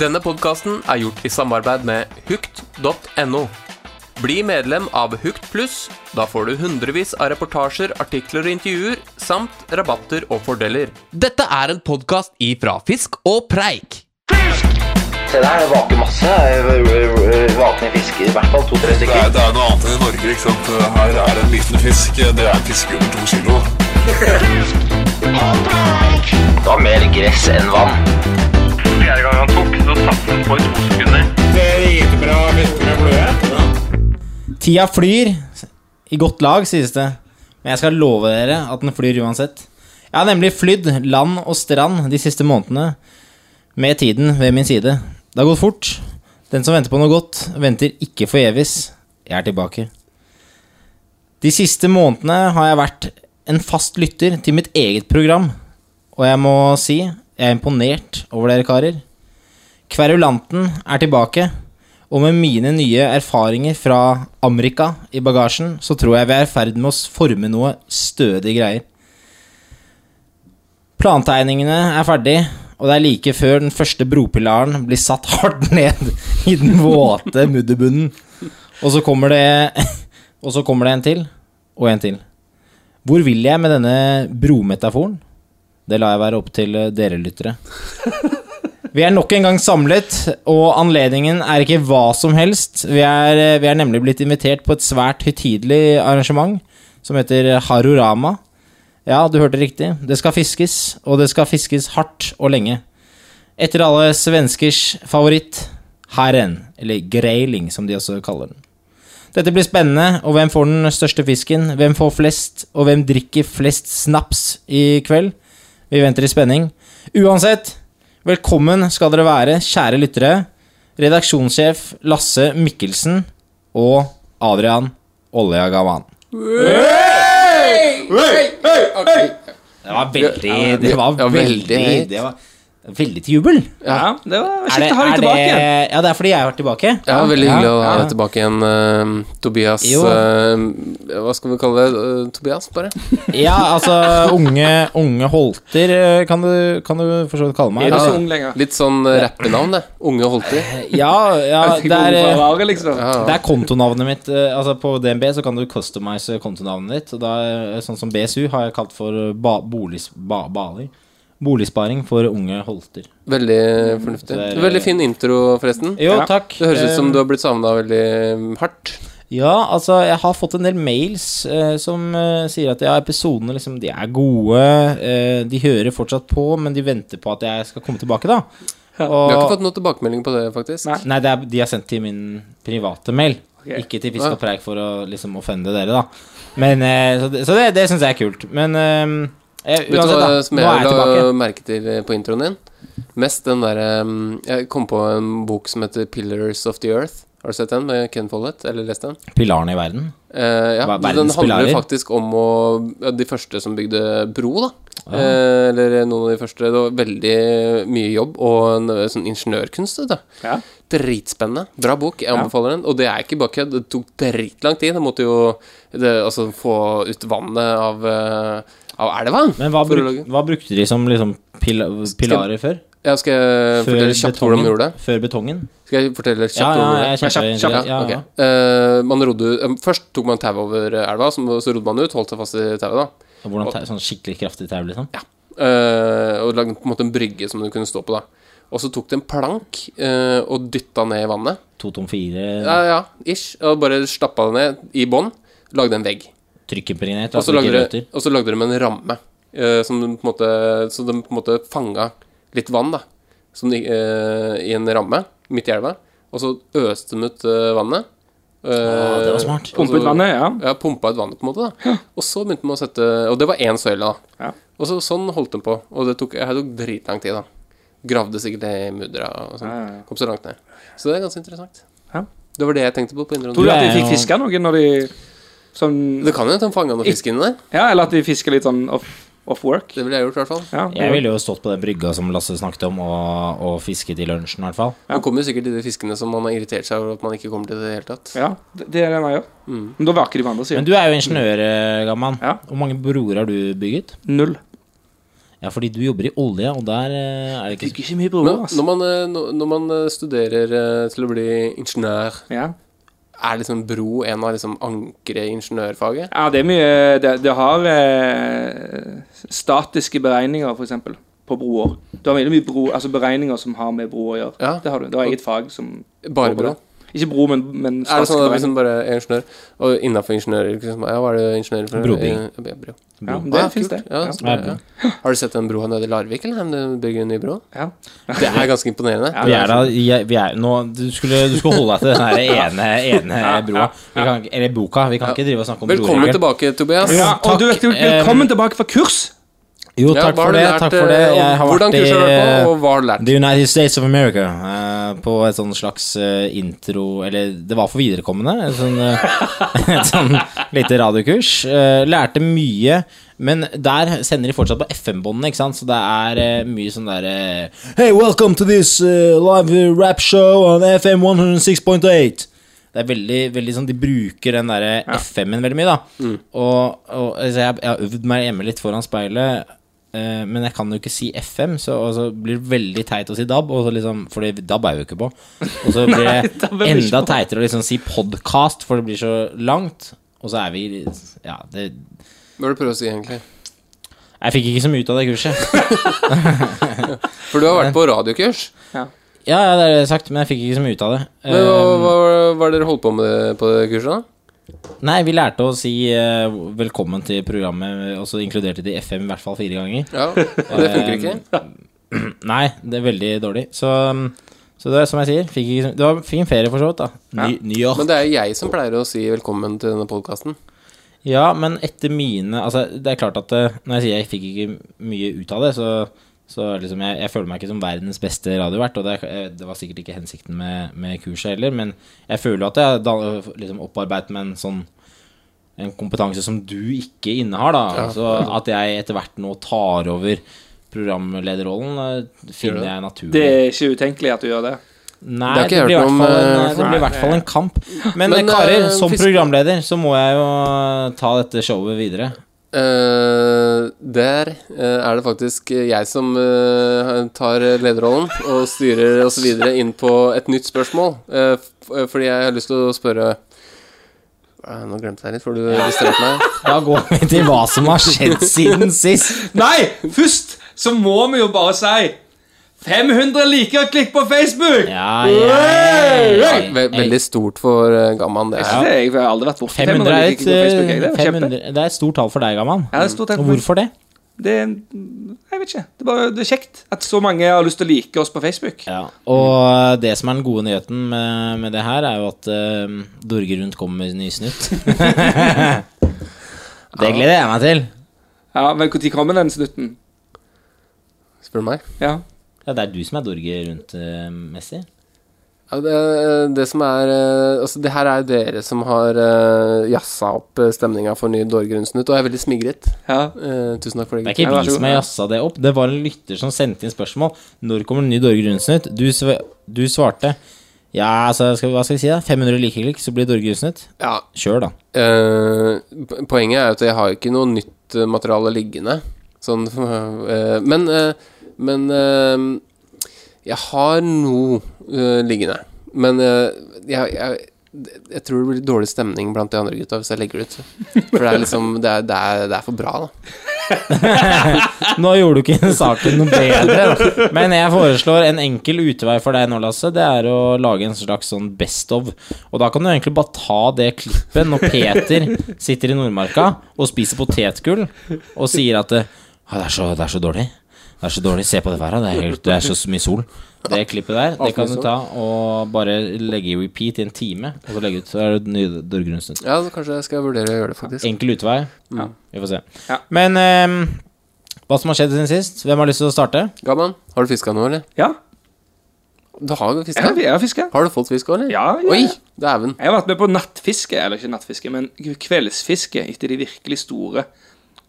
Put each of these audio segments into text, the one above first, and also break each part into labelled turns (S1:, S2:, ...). S1: Denne podkasten er gjort i samarbeid med hukt.no. Bli medlem av Hukt pluss. Da får du hundrevis av reportasjer, artikler og intervjuer, samt rabatter og fordeler. Dette er en podkast ifra Fisk og Preik.
S2: Se der, det vaker masse. Vakne fisker, i hvert fall to-tre
S3: Det
S2: stykker.
S3: er, det er noe annet enn i Norge. ikke sant? Her er det en liten fisk. Det er en fisk under to kilo.
S2: Da mer gress enn vann.
S4: Fjerde gang han tok, så satt han på i to sekunder.
S5: Tida flyr i godt lag, sies det. Men jeg skal love dere at den flyr uansett. Jeg har nemlig flydd land og strand de siste månedene med tiden ved min side. Det har gått fort. Den som venter på noe godt, venter ikke forgjeves. Jeg er tilbake. De siste månedene har jeg vært en fast lytter til mitt eget program. Og jeg må si jeg er imponert over dere karer. Kverulanten er tilbake. Og med mine nye erfaringer fra Amerika i bagasjen, så tror jeg vi er i ferd med å s- forme noe stødig greier. Plantegningene er ferdig, og det er like før den første bropilaren blir satt hardt ned i den våte mudderbunnen. Og så kommer det Og så kommer det en til, og en til. Hvor vil jeg med denne brometaforen? Det lar jeg være opp til eh, dere lyttere. Vi er nok en gang samlet, og anledningen er ikke hva som helst. Vi er, eh, vi er nemlig blitt invitert på et svært høytidelig arrangement som heter Harorama. Ja, du hørte riktig. Det skal fiskes, og det skal fiskes hardt og lenge. Etter alle svenskers favoritt, herren, eller greiling som de også kaller den. Dette blir spennende, og hvem får den største fisken? Hvem får flest, og hvem drikker flest snaps i kveld? Vi venter i spenning. Uansett, velkommen skal dere være, kjære lyttere. Redaksjonssjef Lasse Mikkelsen og Adrian Olja Gavan. Det var veldig Det var
S1: Ja, veldig
S5: veldig
S1: høyt.
S5: Det var veldig til jubel.
S6: Ja, det var
S5: Er det,
S6: kjekt å ha deg
S5: er det,
S6: tilbake.
S5: ja, det er fordi jeg har vært tilbake.
S1: Ja, Veldig
S5: Ja,
S1: hyggelig å ha
S5: ja.
S1: deg tilbake igjen, eh, Tobias
S5: Jo.
S1: eh, Hva skal vi kalle det? Eh, Tobias, bare?
S5: Ja, altså Unge, unge Holter eh, kan du, kan du for så vidt kalle meg. Altså,
S6: Er du
S1: Ja.
S6: så ung lenger?
S1: Litt sånn eh, rappenavn, det. Unge Holter.
S5: Ja, ja det
S6: Jeg er ikke ung
S5: er
S6: for å
S5: eh,
S6: være, liksom.
S1: Ja, altså,
S5: det er kontonavnet mitt. eh, Altså På DNB så kan du customize kontonavnet ditt. Og da, eh, sånn som BSU har jeg kalt for eh, ba, boligs, ba, Bali. Boligsparing for unge holter.
S1: Veldig fornuftig.
S5: Det er-
S1: Veldig fin intro, forresten.
S5: Jo,
S6: Ja.
S5: takk.
S1: Det høres ut som
S5: Eh,
S1: du har blitt savna veldig mm, hardt.
S5: Ja, altså, jeg har fått en del mails eh, som eh, sier at ja, episodene liksom, de er gode, eh, de hører fortsatt på, men de venter på at jeg skal komme tilbake, da.
S1: Vi har
S5: Og,
S1: ikke fått noen tilbakemelding på det, faktisk.
S6: Nei.
S5: Nei, det er, de har sendt til min private mail.
S6: Ok.
S5: Ikke til Fisk og Preik for å liksom offende dere, da. Men, eh, så det, så det, det syns jeg er kult. Men eh, jeg,
S1: Vet du
S5: uansett,
S1: hva
S5: da.
S1: som
S5: Nå er
S1: jeg
S5: jeg
S1: la
S5: tilbake.
S1: merke til eh, på introen din? Mest den derre mm, Jeg kom på en bok som heter 'Pillars of the Earth'. Har du sett den med Ken Follett? Eller lest den?
S5: Pilarene i verden.
S1: Eh, ja,
S5: Hva-
S1: Den
S5: verdens
S1: handler
S5: pilarer?
S1: faktisk om å, ja, de første som bygde bro, da. Eh, eller noen av de første. Det var veldig mye jobb og en eh, sånn ingeniørkunst. vet du.
S6: Ja.
S1: Dritspennende. Bra bok. Jeg anbefaler den. Og det er ikke bare kødd. Det tok dritlang tid. Jeg måtte jo det, altså, få ut vannet av, eh, av elva.
S5: Men hva,
S1: for å
S5: bruk,
S1: lage-
S5: hva brukte de som liksom pila, pilarer før?
S1: Ja, skal jeg fortelle Eh, kjapt hvordan de gjorde det?
S5: Før betongen?
S1: Skal jeg fortelle kjapt
S5: Ja, ja,
S1: hvordan de gjorde det?
S5: jeg er
S6: Kjapt,
S5: kjempe...
S6: kjapt,
S5: Ja, ja.
S1: ok. Eh, man rodde, eh, først tok man tauet over elva, så, så rodde man ut, holdt seg fast i tauet. da
S5: Hvordan ta- Sånn skikkelig kraftig tau, liksom?
S1: Eh, og lagde på en måte en brygge som du kunne stå på, da. Og så tok de en plank eh, og dytta ned i vannet.
S5: To tom fire,
S1: Ja, ja, ish. Og bare stappa det ned i bånn. Lagde en vegg.
S5: trykkimpregnert,
S1: Og så
S5: altså ikke
S1: lagde,
S5: røtter.
S1: de- og så lagde de en ramme eh, som de på en måte, så de på en måte fanga litt vann, da. Som de, eh, I en ramme midt i elva. Og så øste de ut eh, vannet.
S5: Å, Ah, det
S1: Eh,
S5: var
S1: og
S5: smart.
S1: så-
S6: Pumpet vannet, ja.
S1: ja, pumpa ut vannet, på en måte. da Og så begynte man å sette Og det var én søyle, da.
S6: Ja.
S1: Og så, sånn holdt den på. Og det tok, det tok dritlang tid, da. Gravde sikkert det i muddera og sånn.
S6: Ja, ja, ja.
S1: Kom så langt ned. Så det er ganske interessant.
S6: Ja.
S1: Det var det jeg tenkte på på introen.
S6: Tror du at de
S5: er
S6: fikk
S5: jo-
S6: fiska noe når de sånn,
S1: Det kan jo hende han fanga noe fisk inni der.
S6: Ja, eller at de fisker litt sånn off, off work.
S1: Det ville jeg gjort, i hvert fall.
S6: Ja,
S5: Jeg ville jo stått på den brygga som Lasse snakket om, og, og fisket i lunsjen, i hvert fall.
S1: Han kommer jo sikkert til de fiskene som han har irritert seg over at man ikke kommer til i det hele tatt. Mm.
S6: ja det, det er det man gjør. Men da vaker de på andre
S5: Men
S6: siden.
S5: du er jo ingeniør, eh, Gamman.
S6: Ja.
S5: Hvor mange broer har du bygget?
S6: Null.
S5: Ja, fordi du jobber i olje, og der eh, er det ikke
S6: Ikke så mye på
S1: Men
S6: ordet,
S1: når man, eh, når- når man eh, studerer eh, til å bli ingeniør,
S6: Ja.
S1: er liksom bro en av liksom ankeret i ingeniørfaget?
S6: ja, det er mye Det, det har eh, statiske beregninger, f.eks., på broer. Du har veldig mye bro, altså beregninger som har med bro å gjøre.
S1: Ja.
S6: Det har du. Det var eget fag som
S1: Bare bro?
S6: Ikke bro, men, men
S1: Er det
S6: statiske
S1: sånn at hvis
S6: beregninger.
S1: man bare er ingeniør, og innenfor ingeniøryrket liksom, Ja, hva er det ingeniører for?
S5: Brobygging.
S1: Eh, ja, bro.
S6: Ja, men
S1: Ah,
S6: det
S1: ja,
S6: finnes det.
S1: kult. Ja, så bra,
S5: Ja.
S1: ja. Har du sett den broa nede i Larvik, eller? Den bygger en ny bro?
S6: Ja.
S1: Det er ganske imponerende.
S6: Ja,
S5: Vi er da jeg, vi er, nå, du, skulle, du skulle holde deg til den her ene, ene broa. Vi kan, ikke- eller boka. Vi kan ikke drive og snakke om
S1: Velkommen
S5: broer.
S1: tilbake, Tobias.
S6: Ja, Eh, og du vet jo, velkommen tilbake fra kurs!
S5: Jo,
S1: Ja,
S5: takk
S1: hva har
S5: for
S1: du
S5: det.
S1: lært,
S5: Takk for det.
S1: eh,
S5: Jeg har
S1: hvordan
S5: vært i
S1: kurset har du vært på, og
S5: eh,
S1: hva har du lært?
S5: The United States of America eh, på et sånn slags eh, intro Eller det var for viderekommende. En sånn, eh, et sånn lite radiokurs. Eh, lærte mye, men der sender de fortsatt på FM-båndene, ikke sant, så det er eh, mye sånn derre Hey, welcome to this eh, live eh, rap show on FM 106.8. Det er veldig, veldig sånn De bruker den derre FM-en veldig mye, da. Og, og altså, jeg, jeg har øvd meg hjemme litt foran speilet. Eh, men jeg kan jo ikke si FM, så og så blir det veldig teit å si DAB. Og så liksom, fordi DAB er jo ikke på. Og så blir det
S6: DAB er vi ikke
S5: enda
S6: på.
S5: teitere å liksom si podkast, for det blir så langt. Og så er vi Ja, det
S1: Hva er det du prøver å si, egentlig?
S5: Jeg fikk ikke så mye ut av det kurset.
S1: For du har vært på radiokurs.
S5: Ja, ja, det er sagt, men jeg fikk ikke så mye ut av det.
S1: Men Hva
S5: Um,
S1: hva hva er det dere holdt på med på det kurset, da?
S5: Eh, nei, vi lærte å si eh, velkommen til programmet, og så inkluderte de FM i hvert fall fire ganger.
S1: Ja, og det funker ikke?
S5: Nei, det er veldig dårlig. Så, um, så det er som jeg sier, fikk ikke, det var fin ferie for så vidt, da. Ny, New York.
S1: Men det er jo jeg som pleier å si velkommen til denne podkasten.
S5: Ja, men etter mine Altså, det er klart at eh, når jeg sier jeg fikk ikke mye ut av det, så, så liksom jeg, jeg føler meg ikke som verdens beste radiovert, og det, er- eh, det var sikkert ikke hensikten med, med kurset heller, men jeg føler jo at jeg har dan- liksom opparbeidet meg en sånn en kompetanse som du ikke innehar, da. Så at jeg etter hvert nå tar over programlederrollen, eh, finner jeg naturlig.
S6: Det er ikke utenkelig at du gjør det.
S5: Nei,
S1: Det har
S5: det,
S1: ikke jeg
S5: blir i
S1: hørt
S5: hvert
S1: noe
S5: fall
S1: om,
S5: en,
S1: eh,
S5: det blir i hvert fall en kamp. Men,
S1: Men,
S5: eh, karer,
S1: eh,
S5: som
S1: fisk-
S5: programleder så må jeg jo eh, ta dette showet videre.
S1: Eh, der eh, er det faktisk jeg som eh, tar lederrollen og styrer oss videre inn på et nytt spørsmål. Eh, f- eh, fordi jeg har lyst til å spørre Eh, Nå glemte jeg litt, for du distraherte meg.
S5: Da går vi til hva som har skjedd siden sist.
S6: Nei! Først så må vi jo bare si 500 liker-klikk på Facebook!
S5: Ja, ja, ja,
S1: Ve- Veldig stort for eh, Gamman, det
S6: Det
S1: er.
S6: har jeg har aldri vært borte.
S5: 500
S6: 500
S5: er et,
S6: liker på Facebook, jeg. Det
S5: eh,
S6: var kjempe.
S5: 500, det er et stort tall for deg, Gaman.
S6: Ja, det er stort
S5: Og
S6: takk for meg.
S5: hvorfor det?
S6: Det er, jeg vet ikke. Det er, bare, det er kjekt at så mange har lyst til å like oss på Facebook.
S5: Ja. Og eh, det som er den gode nyheten med, med det her, er jo at eh, Dorge Rundt kommer med ny snutt. det gleder jeg meg til.
S6: Ja, men Når kommer den snutten?
S1: Spør du meg.
S6: Ja.
S5: Ja, det er du som er Dorge eh, Rundt-messig.
S1: Ja, det, det som er eh, Altså, det her er jo dere som har eh, jazza opp eh, stemninga for ny Dårgrunnsnutt, og jeg er veldig smigret.
S6: ja.
S1: Eh, tusen takk for det.
S5: Det er ikke
S6: Ja, vær
S5: vi
S6: så
S5: som
S6: god.
S5: har jazza det opp. Det var en lytter som sendte inn spørsmål. Når kommer den nye Dorge Grunnsnutt? Du, sv du svarte Ja, altså, skal, hva skal vi si, da? 500 likeklikk, så blir det Dorge Grunnsnutt?
S1: Ja,
S5: Kjør, da.
S1: Eh, po- poenget er jo at jeg har jo ikke noe nytt eh, materiale liggende. Sånn, eh, men eh, men eh, jeg har noe eh, liggende. Men eh, jeg, jeg, jeg tror det blir dårlig stemning blant de andre gutta hvis jeg legger det ut. For det er liksom Det er, det er, det er for bra, da.
S5: Nå gjorde du ikke saken noe bedre, da. Men jeg foreslår en enkel utvei for deg nå, Lasse. Det er å lage en slags sånn best of. Og da kan du egentlig bare ta det klippet når Peter sitter i Nordmarka og spiser potetgull og sier at eh, «Ah, det, er så, det er så dårlig. Det er så dårlig. Se på det været. Det er, helt, det er så mye sol. Det klippet der, det kan du ta og bare legge i repeat i en time, og så legge ut. Så er det ny dørgrunnsnutt.
S1: Ja, så kanskje jeg skal vurdere å gjøre det, faktisk.
S5: Enkel utvei.
S6: Liksom. Ja.
S5: Vi får se.
S6: Ja.
S5: Men ehm, hva som har skjedd siden sist? Hvem har lyst til å starte?
S1: Gaman, har du fiska noe, eller?
S6: ja.
S1: Du har jo fiska?
S6: ja vi er fiska.
S1: Har du fått fisk òg, eller?
S6: Ja, ja, ja.
S1: Oi, dæven.
S6: Jeg har vært med på nattfiske, eller ikke nattfiske, men kveldsfiske etter de virkelig store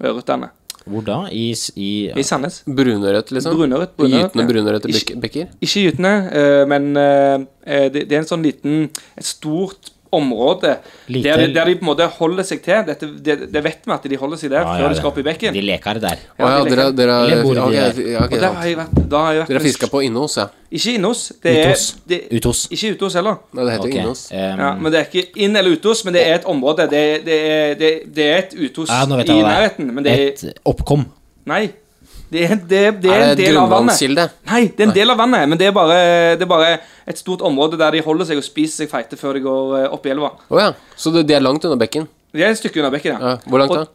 S6: ørretene
S5: Hvor da? I, s- i
S6: i Sandnes.
S1: Brunørret, liksom?
S6: Brunørret, brunørret,
S1: Gytende
S6: ja.
S1: brunørret i
S6: Ikke-
S1: bekker?
S6: Ikke gytende, eh, men eh, eh, det, det er en sånn liten Et stort område
S5: Lite-
S6: der, de- der de på en måte holder seg til. Dette, det, det vet vi at de holder seg der
S5: Ja, ja,
S6: før de
S5: det.
S6: skal opp i bekken.
S5: De leker der.
S6: Ja,
S1: Å ja,
S6: de leker.
S1: dere, dere,
S5: Eller bor de
S1: ok,
S5: der?
S1: ja, ok,
S6: Og der
S1: ja.
S6: har jeg vært, da har jeg vært
S1: Dere fiska på inne hos, ja.
S6: Ikke inne hos. Det er,
S5: Uthos.
S6: det,
S5: Uthos.
S6: Ikke ute hos heller.
S1: Nei, det heter
S5: Ok,
S1: jo inne hos.
S5: ehm,
S6: Ja, men Det er ikke inn- eller uthos, men det er et område. Det, er- det, er, det, er- det er et uthos
S5: ja, nå vet
S6: i
S5: jeg hva det
S6: nærheten, men det er
S5: Et oppkom.
S6: Nei. Det er, det, det er,
S1: Er
S6: en
S1: det
S6: del av vannet.
S1: grunnvannskilde?
S6: Nei, det er en del av vannet, men det er bare, det er bare et stort område der de holder seg og spiser seg feite før de går eh, opp i elva.
S1: Å ja. Så det- de er langt unna bekken?
S6: De er et stykke unna bekken, ja.
S1: Ja. Hvor langt da?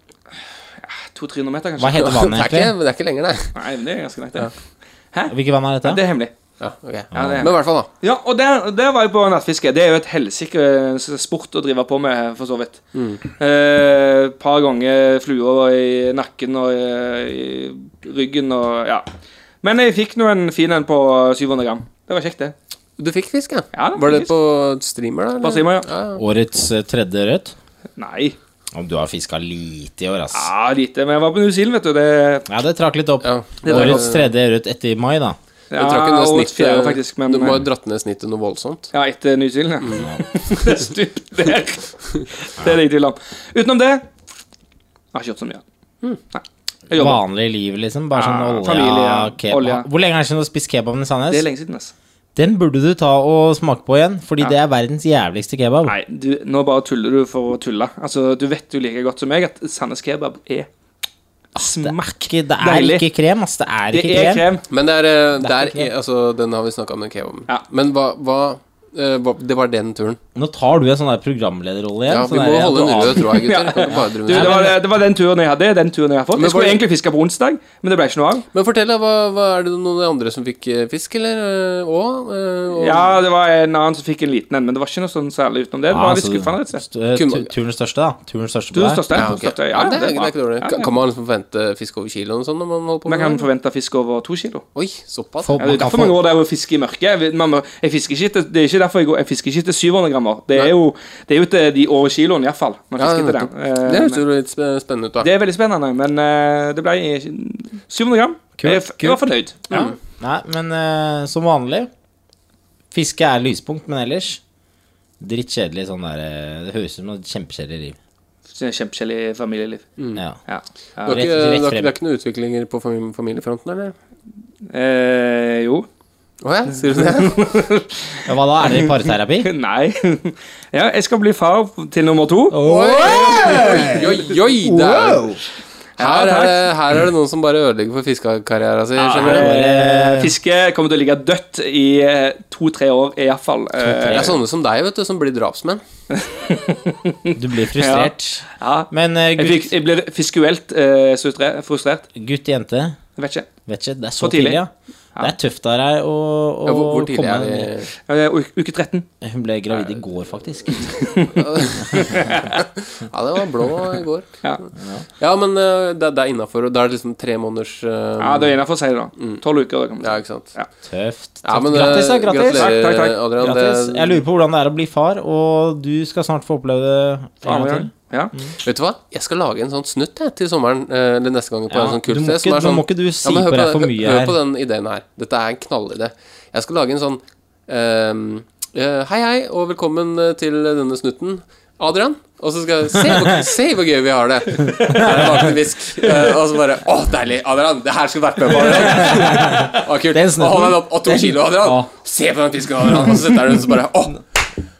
S6: 200-300 meter,
S5: Hva
S6: kanskje.
S1: Det
S5: heter vannet,
S1: er ikke,
S5: egentlig?
S1: det er ikke lenger, nei.
S6: Nei, men det er ganske greit, det.
S5: Hvilket vann er
S6: Det
S5: dette?
S6: er hemmelig.
S1: Ja, ok.
S6: det er-
S1: Men i hvert fall, da.
S6: Ja, og der, der var jeg på nattfiske. Det er jo et helsike sport å drive på med, for så vidt.
S1: Mm.
S6: Et eh, par ganger fluer i nakken og i, i ryggen og ja. Men jeg fikk nå en fin en på 700 gram. Det var kjekt, det.
S1: Du fikk fisk, ja?
S6: Ja, jeg
S1: Var det
S6: fikk
S1: på streamer, da? eller?
S6: På streamer, ja.
S5: Årets eh, tredje rødt?
S6: Nei.
S5: Om du har fiska lite i år, ass.
S6: Ja, lite. Men jeg var på New Zealand, vet du. Det
S5: Ja, det trakk litt opp.
S1: Ja. Det trakk
S5: Årets tredje rødt etter mai, da.
S1: Jeg tror ikke
S6: Ja,
S1: det
S6: og
S1: snittet,
S6: fjerde, faktisk, men
S1: eh,
S6: eh,
S1: Du må ha dratt ned snittet noe voldsomt.
S6: Ja, etter New Zealand, ja. det er stupt der. Det er det jeg tviler om. Utenom det Jeg har ikke gjort så mye. Nei. Jeg jobber.
S5: Vanlig liv, liksom. Bare sånn
S6: Ja,
S5: olje,
S6: familie,
S5: kebab.
S6: olje.
S5: Hvor lenge er det siden du har spist kebaben i
S6: Det er
S5: Sandnes?
S6: lenge siden, altså.
S5: Den burde du ta og smake på igjen, fordi
S6: Ja.
S5: det er verdens jævligste kebab.
S6: Nei, du, nå bare tuller du for å tulle. Altså, Du vet jo like godt som meg at Sandnes kebab er smakk.
S5: Ikke- Det er
S6: Deilig.
S5: ikke krem, ass. Det er
S6: Det
S5: ikke
S6: er
S5: krem.
S6: krem.
S1: Men det er, eh, der,
S5: ikke det.
S1: altså, den har vi snakka om, den kebaben.
S6: Ja.
S1: Men hva, hva eh, hva- Det var den turen.
S5: Nå tar du en sånn der programlederrolle igjen.
S1: Ja,
S5: sånn
S1: vi må
S5: der-
S1: holde en
S5: du
S1: rød
S5: aner-
S1: tråd her, gutter. Kan ikke bare drive
S6: Du,
S1: med
S6: det,
S1: sånn.
S6: var, det var den turen jeg hadde. den turen Jeg har fått
S1: Men
S6: Jeg skulle
S1: var-
S6: egentlig fiske på onsdag, men det ble ikke noe av.
S1: Men fortell, da. Hva, hva er det noen andre som fikk eh, fisk, eller? eh, Og, eh, og
S6: Ja, det var en annen som fikk en liten en, men det var ikke noe sånn særlig utenom
S1: Ah,
S6: det. Det
S5: Ja,
S6: var litt
S5: altså,
S6: skuffende, rett og slett.
S5: st- eh,
S1: Kun-
S5: tu- Turens største, da. Turens største
S6: Du
S5: på deg.
S6: største,
S1: Ja, ok.
S6: du største.
S1: Ja, det, er, det er ikke dårlig.
S6: Ja,
S1: Kan- Kan man liksom forvente fisk over kiloen og sånn når man holder på
S6: Man
S1: med
S6: kan
S1: det?
S6: forvente fisk over to kilo.
S1: Oi, såpass?
S5: For-
S6: Ja, det
S5: Man
S6: er
S5: kan
S6: derfor man
S5: få-
S6: går der og fisker i mørket. Jeg vet- Man, må- jeg fisker ikke til, det er ikke derfor jeg, går, jeg fisker ikke til 700 grammer. Det er jo, det er jo til de over kiloen, iallfall. Man
S1: Ja,
S6: fisker til
S1: nettopp.
S6: den. Eh,
S1: det
S6: men-
S1: høres jo litt spe- spennende ut, da.
S6: det er veldig spennende, men eh, det ble ikke- 700 gram.
S5: Kult,
S6: jeg, f- jeg var fornøyd. Mm.
S5: Ja. Nei, men eh, som vanlig Fiske er lyspunkt, men ellers Drittkjedelig sånn der eh, Det høres ut som et kjempekjedelig liv.
S6: Så det er Kjempekjedelig familieliv.
S1: Mm.
S5: Ja.
S6: Ja.
S1: Det er ikke,
S5: rett-
S1: det
S5: rett
S1: er, ikke- det
S5: frem.
S1: er ikke noen utviklinger på fami- familiefronten, eller?
S6: Eh, jo.
S1: Å ja, sier du det?
S5: Ja, Hva da? Er det parterapi?
S6: Nei. ja, jeg skal bli far til nummer to.
S1: Oi, oi, oi det er- her,
S6: Ja,
S1: er
S6: takk.
S1: det, her er det noen som bare ødelegger for fiskekarrieren sin. skjønner du?
S6: Eh, Fisket kommer til å ligge dødt i eh, to-tre år, iallfall.
S1: Det
S6: Uh,
S1: er sånne som deg, vet du, som blir drapsmenn.
S5: Du blir frustrert.
S6: ja.
S5: Men eh,
S6: Jeg,
S5: gutt,
S6: fikk, jeg ble fiskuelt eh, sutre- frustrert.
S5: gutt jente
S6: Jeg vet ikke.
S5: Vet ikke, det er så
S6: For
S5: tidlig,
S6: tidlig.
S5: ja. Det er tøft av deg å, å
S1: Ja, hvor, hvor tidlig
S5: komme
S1: er vi?
S6: Eh, u- uke 13.
S5: Hun ble gravid i går, faktisk.
S1: Ja, det var blå i går.
S6: Ja,
S1: Ja, men eh, det, det er innafor. Da er det liksom tre måneders eh,
S6: ja det er innafor, sier det da.
S5: Mm.
S6: Tolv uker. Det
S1: ja,
S6: kommer.
S1: ikke sant.
S6: Ja.
S5: Tøft.
S1: Ja,
S5: Tøft.
S1: men, eh,
S5: grattis, da. Grattis.
S1: Gratulerer,
S6: Takk, takk, takk.
S1: Adrian.
S5: Grattis. Jeg
S1: Det,
S5: lurer på hvordan det er å bli far, og du skal snart få oppleve det en gang til. Mm.
S6: Ja.
S1: vet du hva? Jeg skal lage en sånn snutt jeg, til sommeren eh, eller neste gang på
S5: Ja,
S1: en sånn
S5: du
S1: kult
S5: må
S1: sted.
S5: ikke- nå må ikke du si
S1: men
S5: på
S1: hør
S5: deg for
S1: hø-
S5: mye
S1: Hør
S5: her.
S1: på den ideen her. Dette er en knallidé. Jeg skal lage en sånn eh, eh, Hei, hei, og velkommen eh, til denne snutten. Adrian. Og så skal jeg se hvor, se hvor gøy vi har det. Der er det vakre fisk. Eh, og så bare Å, deilig! Adrian, det her skal du vært med på. Adrian. Å, kult.
S5: Den snutten.
S1: Å, hold den opp. Å, to
S5: Den-
S1: kilo, Adrian.
S5: Ja.
S1: Se på den fisken, Adrian. Og så setter jeg den, så bare Å,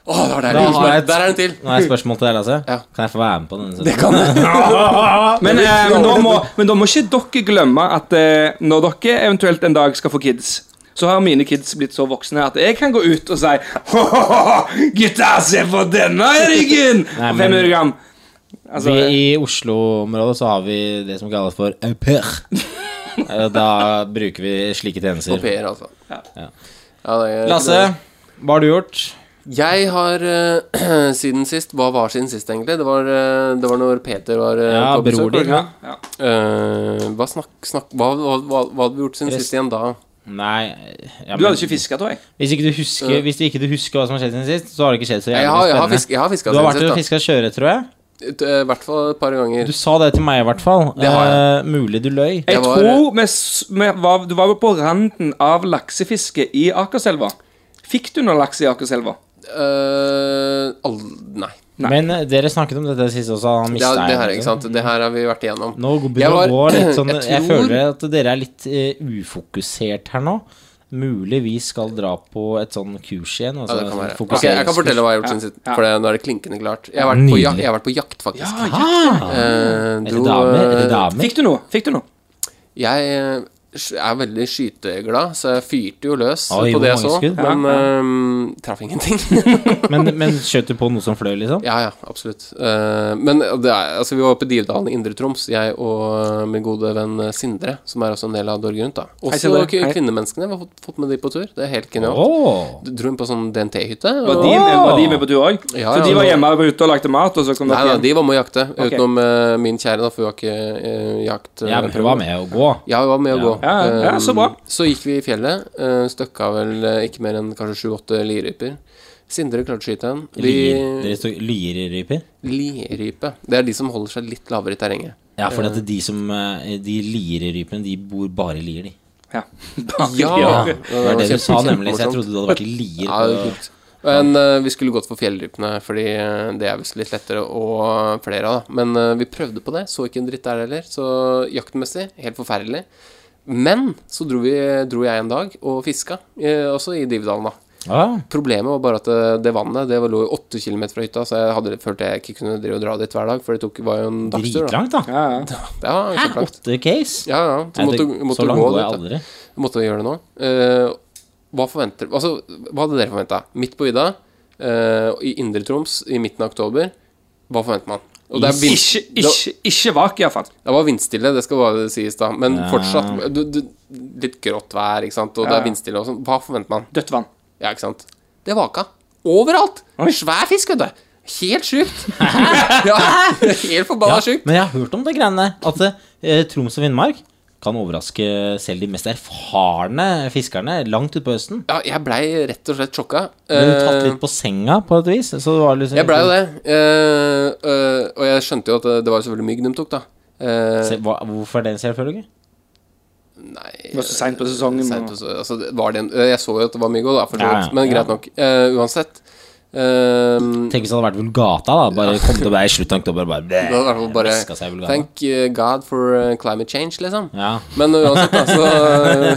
S1: å det var deilig.
S5: Da
S1: Og så
S5: har jeg
S1: bare,
S5: et-
S1: Der er den til.
S5: Nå har jeg et spørsmål til deg, Lasse.
S1: Ja.
S5: Kan jeg få være med på denne? sendingen?
S1: kan
S6: Men, eh, men, da må, men da må ikke dere glemme at eh, når dere eventuelt en dag skal få kids, så har mine kids blitt så voksne at jeg kan gå ut og si «Hahaha, Gutta, se på denne ryggen!
S5: Nei, men-
S6: 500 gram. Altså,
S5: vi, I Oslo-området så har vi det som kalles for au pair. Eh, Da bruker vi slike
S1: Au
S5: tjenester.
S1: pair, altså.
S6: Ja.
S1: Ja, det er-
S5: Lasse, hva har du gjort?
S1: Jeg har eh, siden sist Hva var siden sist, egentlig? Det var, eh, det var når Peter var eh,
S5: Ja,
S1: på besøk.
S5: bror
S1: var det
S5: din.
S1: ikke?
S5: Ja.
S6: ja.
S1: Eh, hva, snakk, snakk, hva, hva, hva, hva hadde vi gjort siden
S5: Rest-
S1: sist igjen da?
S5: Nei ja,
S6: Du
S5: men,
S6: hadde ikke fiska, tror jeg.
S5: hvis, ikke du husker, hvis du ikke du husker hva som har skjedd siden sist, så har det ikke skjedd så
S1: Jeg
S5: jævlig
S1: har, jeg har,
S5: spennende.
S1: fisk, jeg har fiska
S5: du har vært
S1: siden sist,
S5: og fiska sjøørret, tror jeg.
S1: da. Eh, I hvert fall et par ganger.
S5: Du sa det til meg, i hvert fall.
S1: Det har jeg.
S5: Eh, mulig du løy.
S6: Jeg
S1: Jeg var-
S6: tror vi, s- vi var, du var jo på randen av laksefiske i Akerselva. Fikk du noe laks i Akerselva?
S1: Eh, all, nei.
S5: Men eh, dere snakket om dette sist også. Han
S1: Det,
S5: mistet
S1: er- det her,
S5: eieren
S1: ikke
S5: sin.
S1: sant? Det her har vi vært igjennom.
S5: Nå
S1: Jeg
S5: begynner det å
S1: var-
S5: gå litt sånn
S1: jeg
S5: jeg,
S1: tror-
S5: føler at dere er litt eh, ufokusert her nå. Muligvis skal dra på et sånn kurs igjen.
S1: Ja,
S5: Altså,
S1: det kan være.
S5: sånn
S1: Ok, jeg kan
S5: fokuseringskurs.
S1: fortelle hva jeg har gjort siden sist.
S6: Ja.
S1: For det, nå er det klinkende klart. Jeg har vært på,
S5: Nydelig.
S1: jak jeg har vært på jakt, faktisk. Eh,
S5: Er
S1: dro,
S5: det damer? Er det
S1: eh,
S5: damer?
S6: Fikk du noe? Fikk du noe?
S1: Jeg eh, er veldig skyteglad, så jeg fyrte jo løs
S5: Oi,
S1: på
S5: hvor
S1: det jeg
S5: mange
S1: så,
S5: skudd?
S1: men eh, traff ingenting.
S5: Men, men skjøt du på noe som fløy, liksom?
S1: ja, ja, absolutt. Eh, men det er, altså, vi var oppe i Divdalen i Indre Troms, jeg og eh, min gode venn eh, Sindre, som er også en del av Dorg Rundt. da Også
S6: Sindre.
S1: k-
S6: Hei.
S1: kvinnemenneskene. Vi har fått, fått med de på tur. Det er helt genialt.
S5: Åh
S1: Du Dro inn på sånn DNT-hytte.
S6: Var de, var de med på tur òg?
S1: Ja, ja,
S6: så de var
S1: ja.
S6: hjemme og var ute og lagde mat, og så kom
S1: Nei,
S6: dere
S1: nei,
S6: hjem?
S1: de var med å jakte,
S6: Ok.
S1: utenom eh, min kjære, da, for hun har ikke eh, jakt... eh,
S5: Jeg var med å gå.
S1: Ja, hun var med å gå.
S6: Ja, ja, ja,
S1: Um,
S6: så bra.
S1: så gikk vi i fjellet. Uh, støkka vel eh, ikke mer enn kanskje sju-åtte liryper. Sindre klarte å skyte en.
S5: Lier.
S1: Vi
S5: Dere stod lierryper?
S1: Lirype. Det er de som holder seg litt lavere i terrenget.
S5: Ja, for at de som eh, De lierrypene, de bor bare i lier, de.
S6: Ja.
S1: Ja!
S5: Det var det du sa, nemlig. Så jeg trodde du hadde vært i lier.
S1: Ja, det var
S5: på-
S1: kult. Men eh, vi skulle gått for fjellrypene, fordi eh, det er visst litt lettere og flere av, da. Men eh, vi prøvde på det, så ikke en dritt der heller. Så jaktmessig, helt forferdelig. Men så dro, vi, dro jeg en dag og fiska, eh, også i Divdalen, da.
S5: Ja.
S1: Problemet var bare at eh, det, det vannet det lå jo åtte kilometer fra hytta, så jeg hadde følt jeg ikke kunne drive og dra dit hver dag, for det tok, var jo en dagstur. Da.
S5: Dritlangt, da.
S6: Ja, ja.
S1: Ja, kjempelangt.
S5: Åtte case?
S1: Ja, ja. Så
S5: Nei,
S1: måtte,
S5: det-
S1: måtte
S5: så langt
S1: gå
S5: går
S1: dit.
S5: jeg
S1: da.
S5: aldri.
S1: Måtte gjøre det nå. Eh, hva forventer Altså, hva hadde dere forventa? Midt på vidda, eh, i Indre Troms i midten av oktober. Hva forventer man? Og det, er vind,
S6: Ikke,
S1: det,
S6: ikke, ikke vak, iallfall.
S1: det var vindstille, det skal bare sies, da. Men
S5: Ja.
S1: fortsatt du, du, litt grått vær, ikke sant, og det
S6: Ja,
S1: er
S6: ja.
S1: vindstille og sånn. Hva forventer man?
S6: Dødt vann.
S1: Ja, ikke sant? Det vaka. Overalt! Svær fisk, vet du. Helt sjukt. ja, helt forbanna
S5: Ja,
S1: sjukt.
S5: men jeg har hørt om det greiene der. At eh, Troms og Finnmark kan overraske selv de mest erfarne fiskerne langt utpå høsten.
S1: Ja, jeg blei rett og slett sjokka.
S5: Men
S1: Eh,
S5: tatt litt på senga, på et vis. Så det var liksom
S1: jeg blei jo det. Eh, eh, og jeg skjønte jo at det- det var selvfølgelig mygg de tok, da. Eh,
S5: Se, hva, hvorfor er det en selvfølge?
S1: nei
S6: Det var så seint på sesongen.
S1: sent,
S6: og-
S1: altså, det var det en, Jeg så jo at det var mygg òg, da, for så
S5: Ja, ja.
S1: vidt. Men greit
S5: Ja.
S1: nok. Eh, uansett. Eh,
S5: Tenk hvis det hadde vært Vulgata, da. Bare kom til å være i slutten av oktober, bare
S1: det var i hvert fall
S5: Vaska seg i
S1: bare
S5: Bulgaria.
S1: Thank eh, God for eh, climate change, liksom.
S5: Ja.
S1: Men uansett, da, så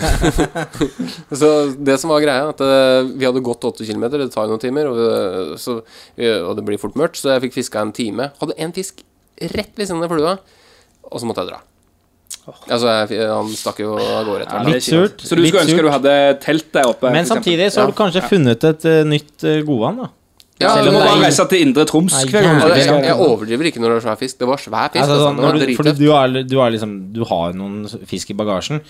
S1: Så det som var greia, at eh, vi hadde gått 8 km, det tar jo noen timer, og, eh, så, eh, og det blir fort mørkt, så jeg fikk fiska en time. Hadde én fisk rett ved siden av flua, og så måtte jeg dra. Altså, jeg, han stakk jo av gårde etter hvert.
S5: Litt surt.
S6: Så du
S5: litt
S6: skulle ønske
S5: surt.
S6: du hadde telt der oppe?
S5: Men
S6: for eksempel.
S5: samtidig så har du kanskje funnet et eh, nytt uh, godvann, da.
S1: Ja,
S5: Selv
S6: Du
S1: men
S5: om
S6: må
S1: det er-
S6: bare reise til Indre Troms
S5: Nei,
S6: hver gang.
S1: og
S5: jævlig.
S1: det-
S6: du
S1: jeg,
S6: skal-
S1: jeg overdriver ikke når det var svær fisk. Det var svær fisk.
S5: Altså,
S1: altså,
S5: sånn,
S1: den var
S5: når du, fordi
S1: dritfett.
S5: du, har, du, har liksom, du har jo noen fisk i bagasjen.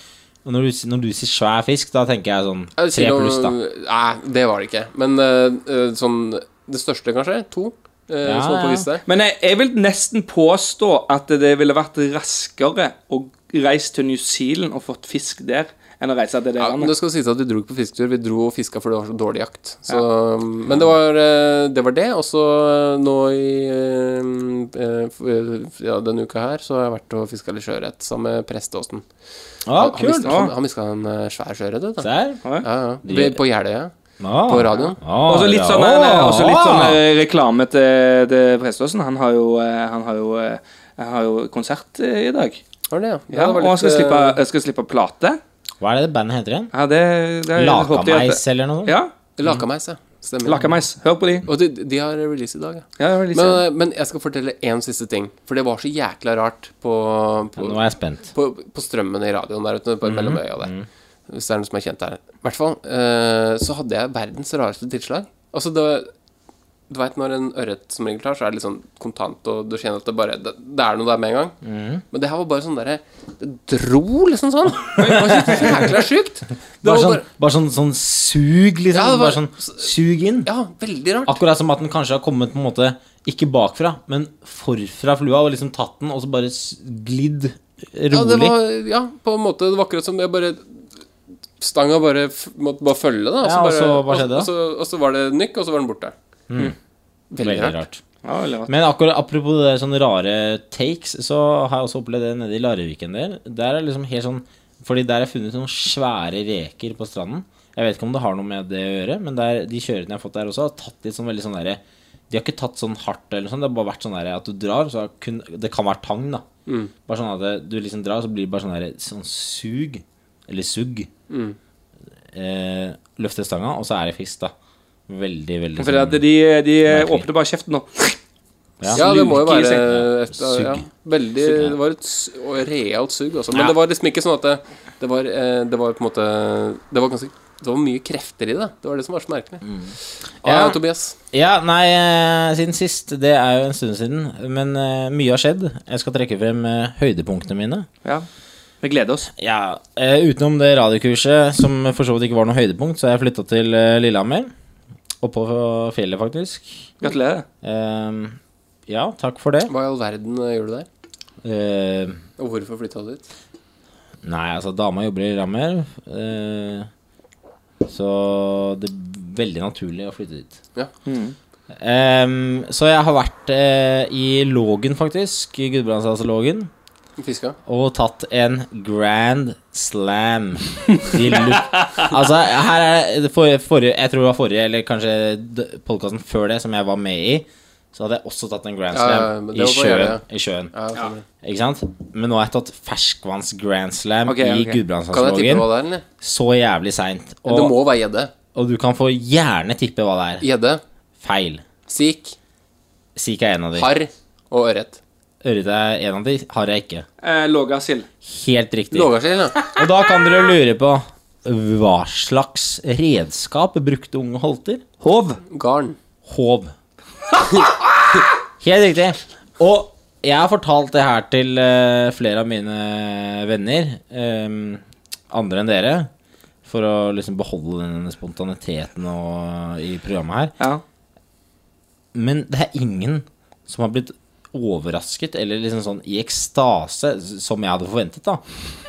S5: Og når du, s- når du sier svær fisk, da tenker jeg sånn
S1: Jeg vil si
S5: tre
S1: noe-
S5: pluss, da.
S1: Nei, det var det ikke. Men eh, eh, sånn Det største, kanskje? To? eh,
S5: Ja,
S1: som var på
S5: ja.
S1: liste.
S6: Men jeg, jeg vil nesten påstå at det ville vært raskere å reise til New Zealand og fått fisk der, enn å reise til det
S1: Ja, men det
S6: landet.
S1: skal sies at vi dro ikke på fisketur. Vi dro og fiska fordi det var så dårlig jakt. Så, Men det var eh, det. Var det. Og så eh, nå i eh, eh, f- eh, ja, denne uka her så har jeg vært og fiska litt sjøørret sammen med Presteåsen.
S5: Ja,
S6: Ah,
S1: han
S5: Ah, kult.
S1: mistet- han, han miska en eh, svær sjøørret, vet du.
S5: Der.
S1: Ja, ja. Vi- På Jeløya.
S5: Ah.
S1: På radioen.
S5: Ah,
S6: Og så litt
S5: ja.
S6: sånn, eh, og så litt sånn
S5: Ah.
S6: eh, reklame til, til Preståsen. Han har jo, eh, han har jo, eh, han har jo konsert eh, i dag.
S1: Var det, ja? Ja,
S6: Ja,
S1: det var
S6: og han
S1: litt,
S6: skal
S1: eh,
S6: slippe, eh, skal slippe plate.
S5: Hva er det det bandet heter igjen?
S6: Ja, det, det håper jeg at-
S5: Lakameis eller noe sånt?
S6: Ja.
S1: eh, Lakameis, ja. Stemmer.
S6: Lakameis. Hør på de.
S1: Og de, de har release i dag, ja.
S6: Ja, det var litt
S1: Men,
S6: sånn.
S1: eh, men jeg skal fortelle én siste ting, for det var så jækla rart på, på
S5: Nå er jeg spent.
S1: på, på strømmen i radioen der ute på
S5: Mhm.
S1: mellom øya der. Hvis det er noen som er kjent der. I hvert fall eh, så hadde jeg verdens rareste tilslag. Altså, det Du veit når en ørret som regel tar, så er det litt sånn kontant, og du kjenner at det bare Det, det er noe der med en gang.
S5: Mhm.
S1: Men det her var bare sånn derre Det dro liksom sånn. Det var så jækla sjukt. Det
S5: Bare
S1: var
S5: sånn,
S1: bare
S5: bare sånn, sånn sug, liksom.
S1: Ja, det var-
S5: bare sånn sug inn.
S1: Ja, veldig rart.
S5: Akkurat som at den kanskje har kommet på en måte ikke bakfra, men forfra flua, og liksom tatt den, og så bare s- glidd rolig.
S1: Ja, det var, ja, på en måte. Det var akkurat som jeg bare Stanga bare f- måtte bare følge, da.
S5: Ja, og så hva
S1: og-
S5: skjedde da?
S1: Og så, og så var det nykk, og så var den borte.
S5: Veldig rart.
S6: Ja, veldig rart.
S5: Men akkurat apropos det sånne rare takes, så har jeg også opplevd det nede i Larviken der. Der er det liksom helt sånn Fordi der er funnet noen svære reker på stranden. Jeg vet ikke om det har noe med det å gjøre, men det er- de kjørerne jeg har fått der også, har tatt litt sånn veldig sånn derre De har ikke tatt sånn hardt eller noe sånt, det har bare vært sånn derre at du drar, så har kun Det kan være tang, da.
S6: Mm.
S5: Bare sånn at det- du liksom drar, så blir det bare sånn derre sånn sug, eller sugg.
S6: Mm.
S5: Eh, løfter stanga, og så er det fisk, da. Veldig, veldig
S6: For det at
S5: sånn-
S6: de, de eh,
S5: Merkelig.
S6: åpner bare kjeften nå.
S5: Ja.
S1: Ja, det må jo
S6: Sluke i
S1: være
S5: senga.
S1: et, ja,
S5: Sugg.
S1: veldig,
S5: Sugg, ja.
S1: Det var et s- og realt sugg, altså. Men
S5: Ja.
S1: det var liksom ikke sånn at det, det, var, eh, det var på en måte Det var ganske Det var mye krefter i det. Det var det som var så merkelig. Ja,
S5: Ja.
S1: Tobias.
S5: Ja, nei, eh, siden sist. Det er jo en stund siden. Men eh, mye har skjedd. Jeg skal trekke frem eh, høydepunktene mine.
S6: Ja. Vi gleder oss.
S5: Ja, eh, Utenom det radiokurset, som for så vidt ikke var noe høydepunkt, så har jeg flytta til eh, Lillehammer. Oppå fjellet, faktisk.
S6: Gratulerer.
S5: Eh, ja, takk for det.
S1: Hva i all verden eh, gjør du der?
S5: Eh,
S1: Og hvorfor flytta du dit?
S5: nei, altså, dama jobber i Lillehammer. eh, så det er veldig naturlig å flytte dit.
S1: Ja.
S5: Eh, så jeg har vært eh, i Lågen, faktisk. I Gudbrandsdalslågen.
S1: Fiska?
S5: og tatt en grand slam. De lu- altså, her er det forrige, forrige Jeg tror det var forrige, eller kanskje d- podcasten før det, som jeg var med i. Så hadde jeg også tatt en grand
S1: Ja, ja,
S5: slam
S1: ja, men det
S5: i,
S1: var bare
S5: sjøen,
S1: det,
S5: i sjøen.
S1: Ja, stemmer.
S5: Ikke sant? Men nå har jeg tatt ferskvanns grand slam i
S6: Ok, ok.
S1: Kan jeg tippe
S5: Gudbrandsdalslågen.
S1: hva det er, eller?
S5: Så jævlig seint.
S1: Det
S5: Og,
S1: må være gjedde.
S5: og du kan få gjerne tippe hva det er.
S1: Gjedde,
S5: Feil.
S1: sik,
S5: Sik er en av de.
S1: harr og ørret.
S5: Ørret er en av de. Har jeg ikke.
S6: Eh, Lågasild.
S5: Helt riktig.
S1: Lågarsild, ja.
S5: Og da kan dere lure på hva slags redskap brukte unge Holter? Håv.
S1: Garn.
S5: Håv. Helt riktig. Og jeg har fortalt det her til eh, flere av mine venner, eh, andre enn dere, for å liksom beholde den spontaniteten og, i programmet her.
S6: Ja.
S5: Men det er ingen som har blitt overrasket, eller liksom sånn i ekstase, s- som jeg hadde forventet, da,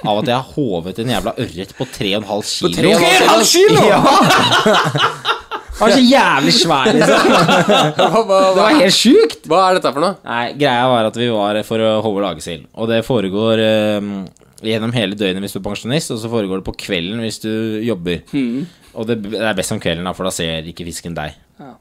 S5: av at jeg har håvet en jævla ørret på 3,5 kilo.
S1: tre og en halv kilo?
S5: halv kilo?! Ja. Han var så jævlig svær, liksom.
S1: Hva, hva,
S5: Det
S1: hva,
S5: var helt sjukt!
S1: hva er dette for noe?
S5: Nei, greia var at vi var for å holde lagesild. Og det foregår ehm, gjennom hele døgnet hvis du er pensjonist, og så foregår det på kvelden hvis du jobber.
S1: Hmm.
S5: Og det, det er best om kvelden, da, for da ser ikke fisken deg.
S6: Ja.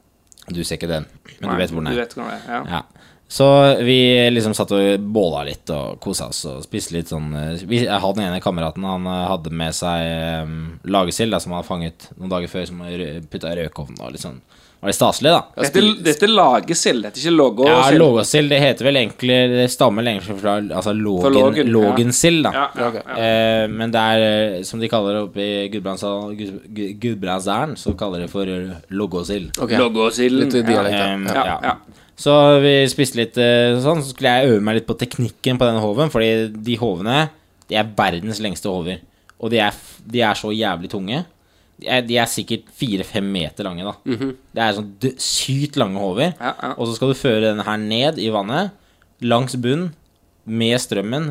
S5: Du ser ikke den, men du vet hvor den
S6: Du
S5: er.
S6: vet hvordan det er. Ja.
S5: Ja. Så vi liksom satt og båla litt og kosa oss og spiste litt sånn eh, vi, Jeg hadde den ene kameraten, han eh, hadde med seg um, lagesild da, som han hadde fanget noen dager før, som han putta i rødkovnen og litt sånn. Var litt staselig, da.
S6: Dette, dette er lagesild, dette er ikke
S5: Ja,
S6: lågåsild.
S5: lågasild, det heter vel egentlig Det stammer lenger fra altså lågen,
S6: lågen, ja.
S5: lågensild, da.
S6: Ja, ja,
S1: Ok.
S6: ja.
S5: Eh, men det er, eh, som de kaller det oppe i Gudbrandsdalen, Gud- Gud- Gudbrandsdæren, så kaller de for eh, lågåsild.
S1: Ok,
S6: Lågåsilden.
S1: Litt i
S6: Ja.
S1: dialekt.
S5: Ehm,
S1: Ja.
S6: Ja,
S5: ja.
S6: ja.
S5: Så vi spiste litt eh, sånn, så skulle jeg øve meg litt på teknikken på denne hoven, fordi de hovene, de er verdens lengste hover. Og de er, f- de er så jævlig tunge. De er, de er sikkert fire-fem meter lange, da. Det er sånn dø- sykt lange hover.
S6: Mhm. Ja, ja.
S5: Og så skal du føre denne her ned i vannet, langs bunnen, med strømmen,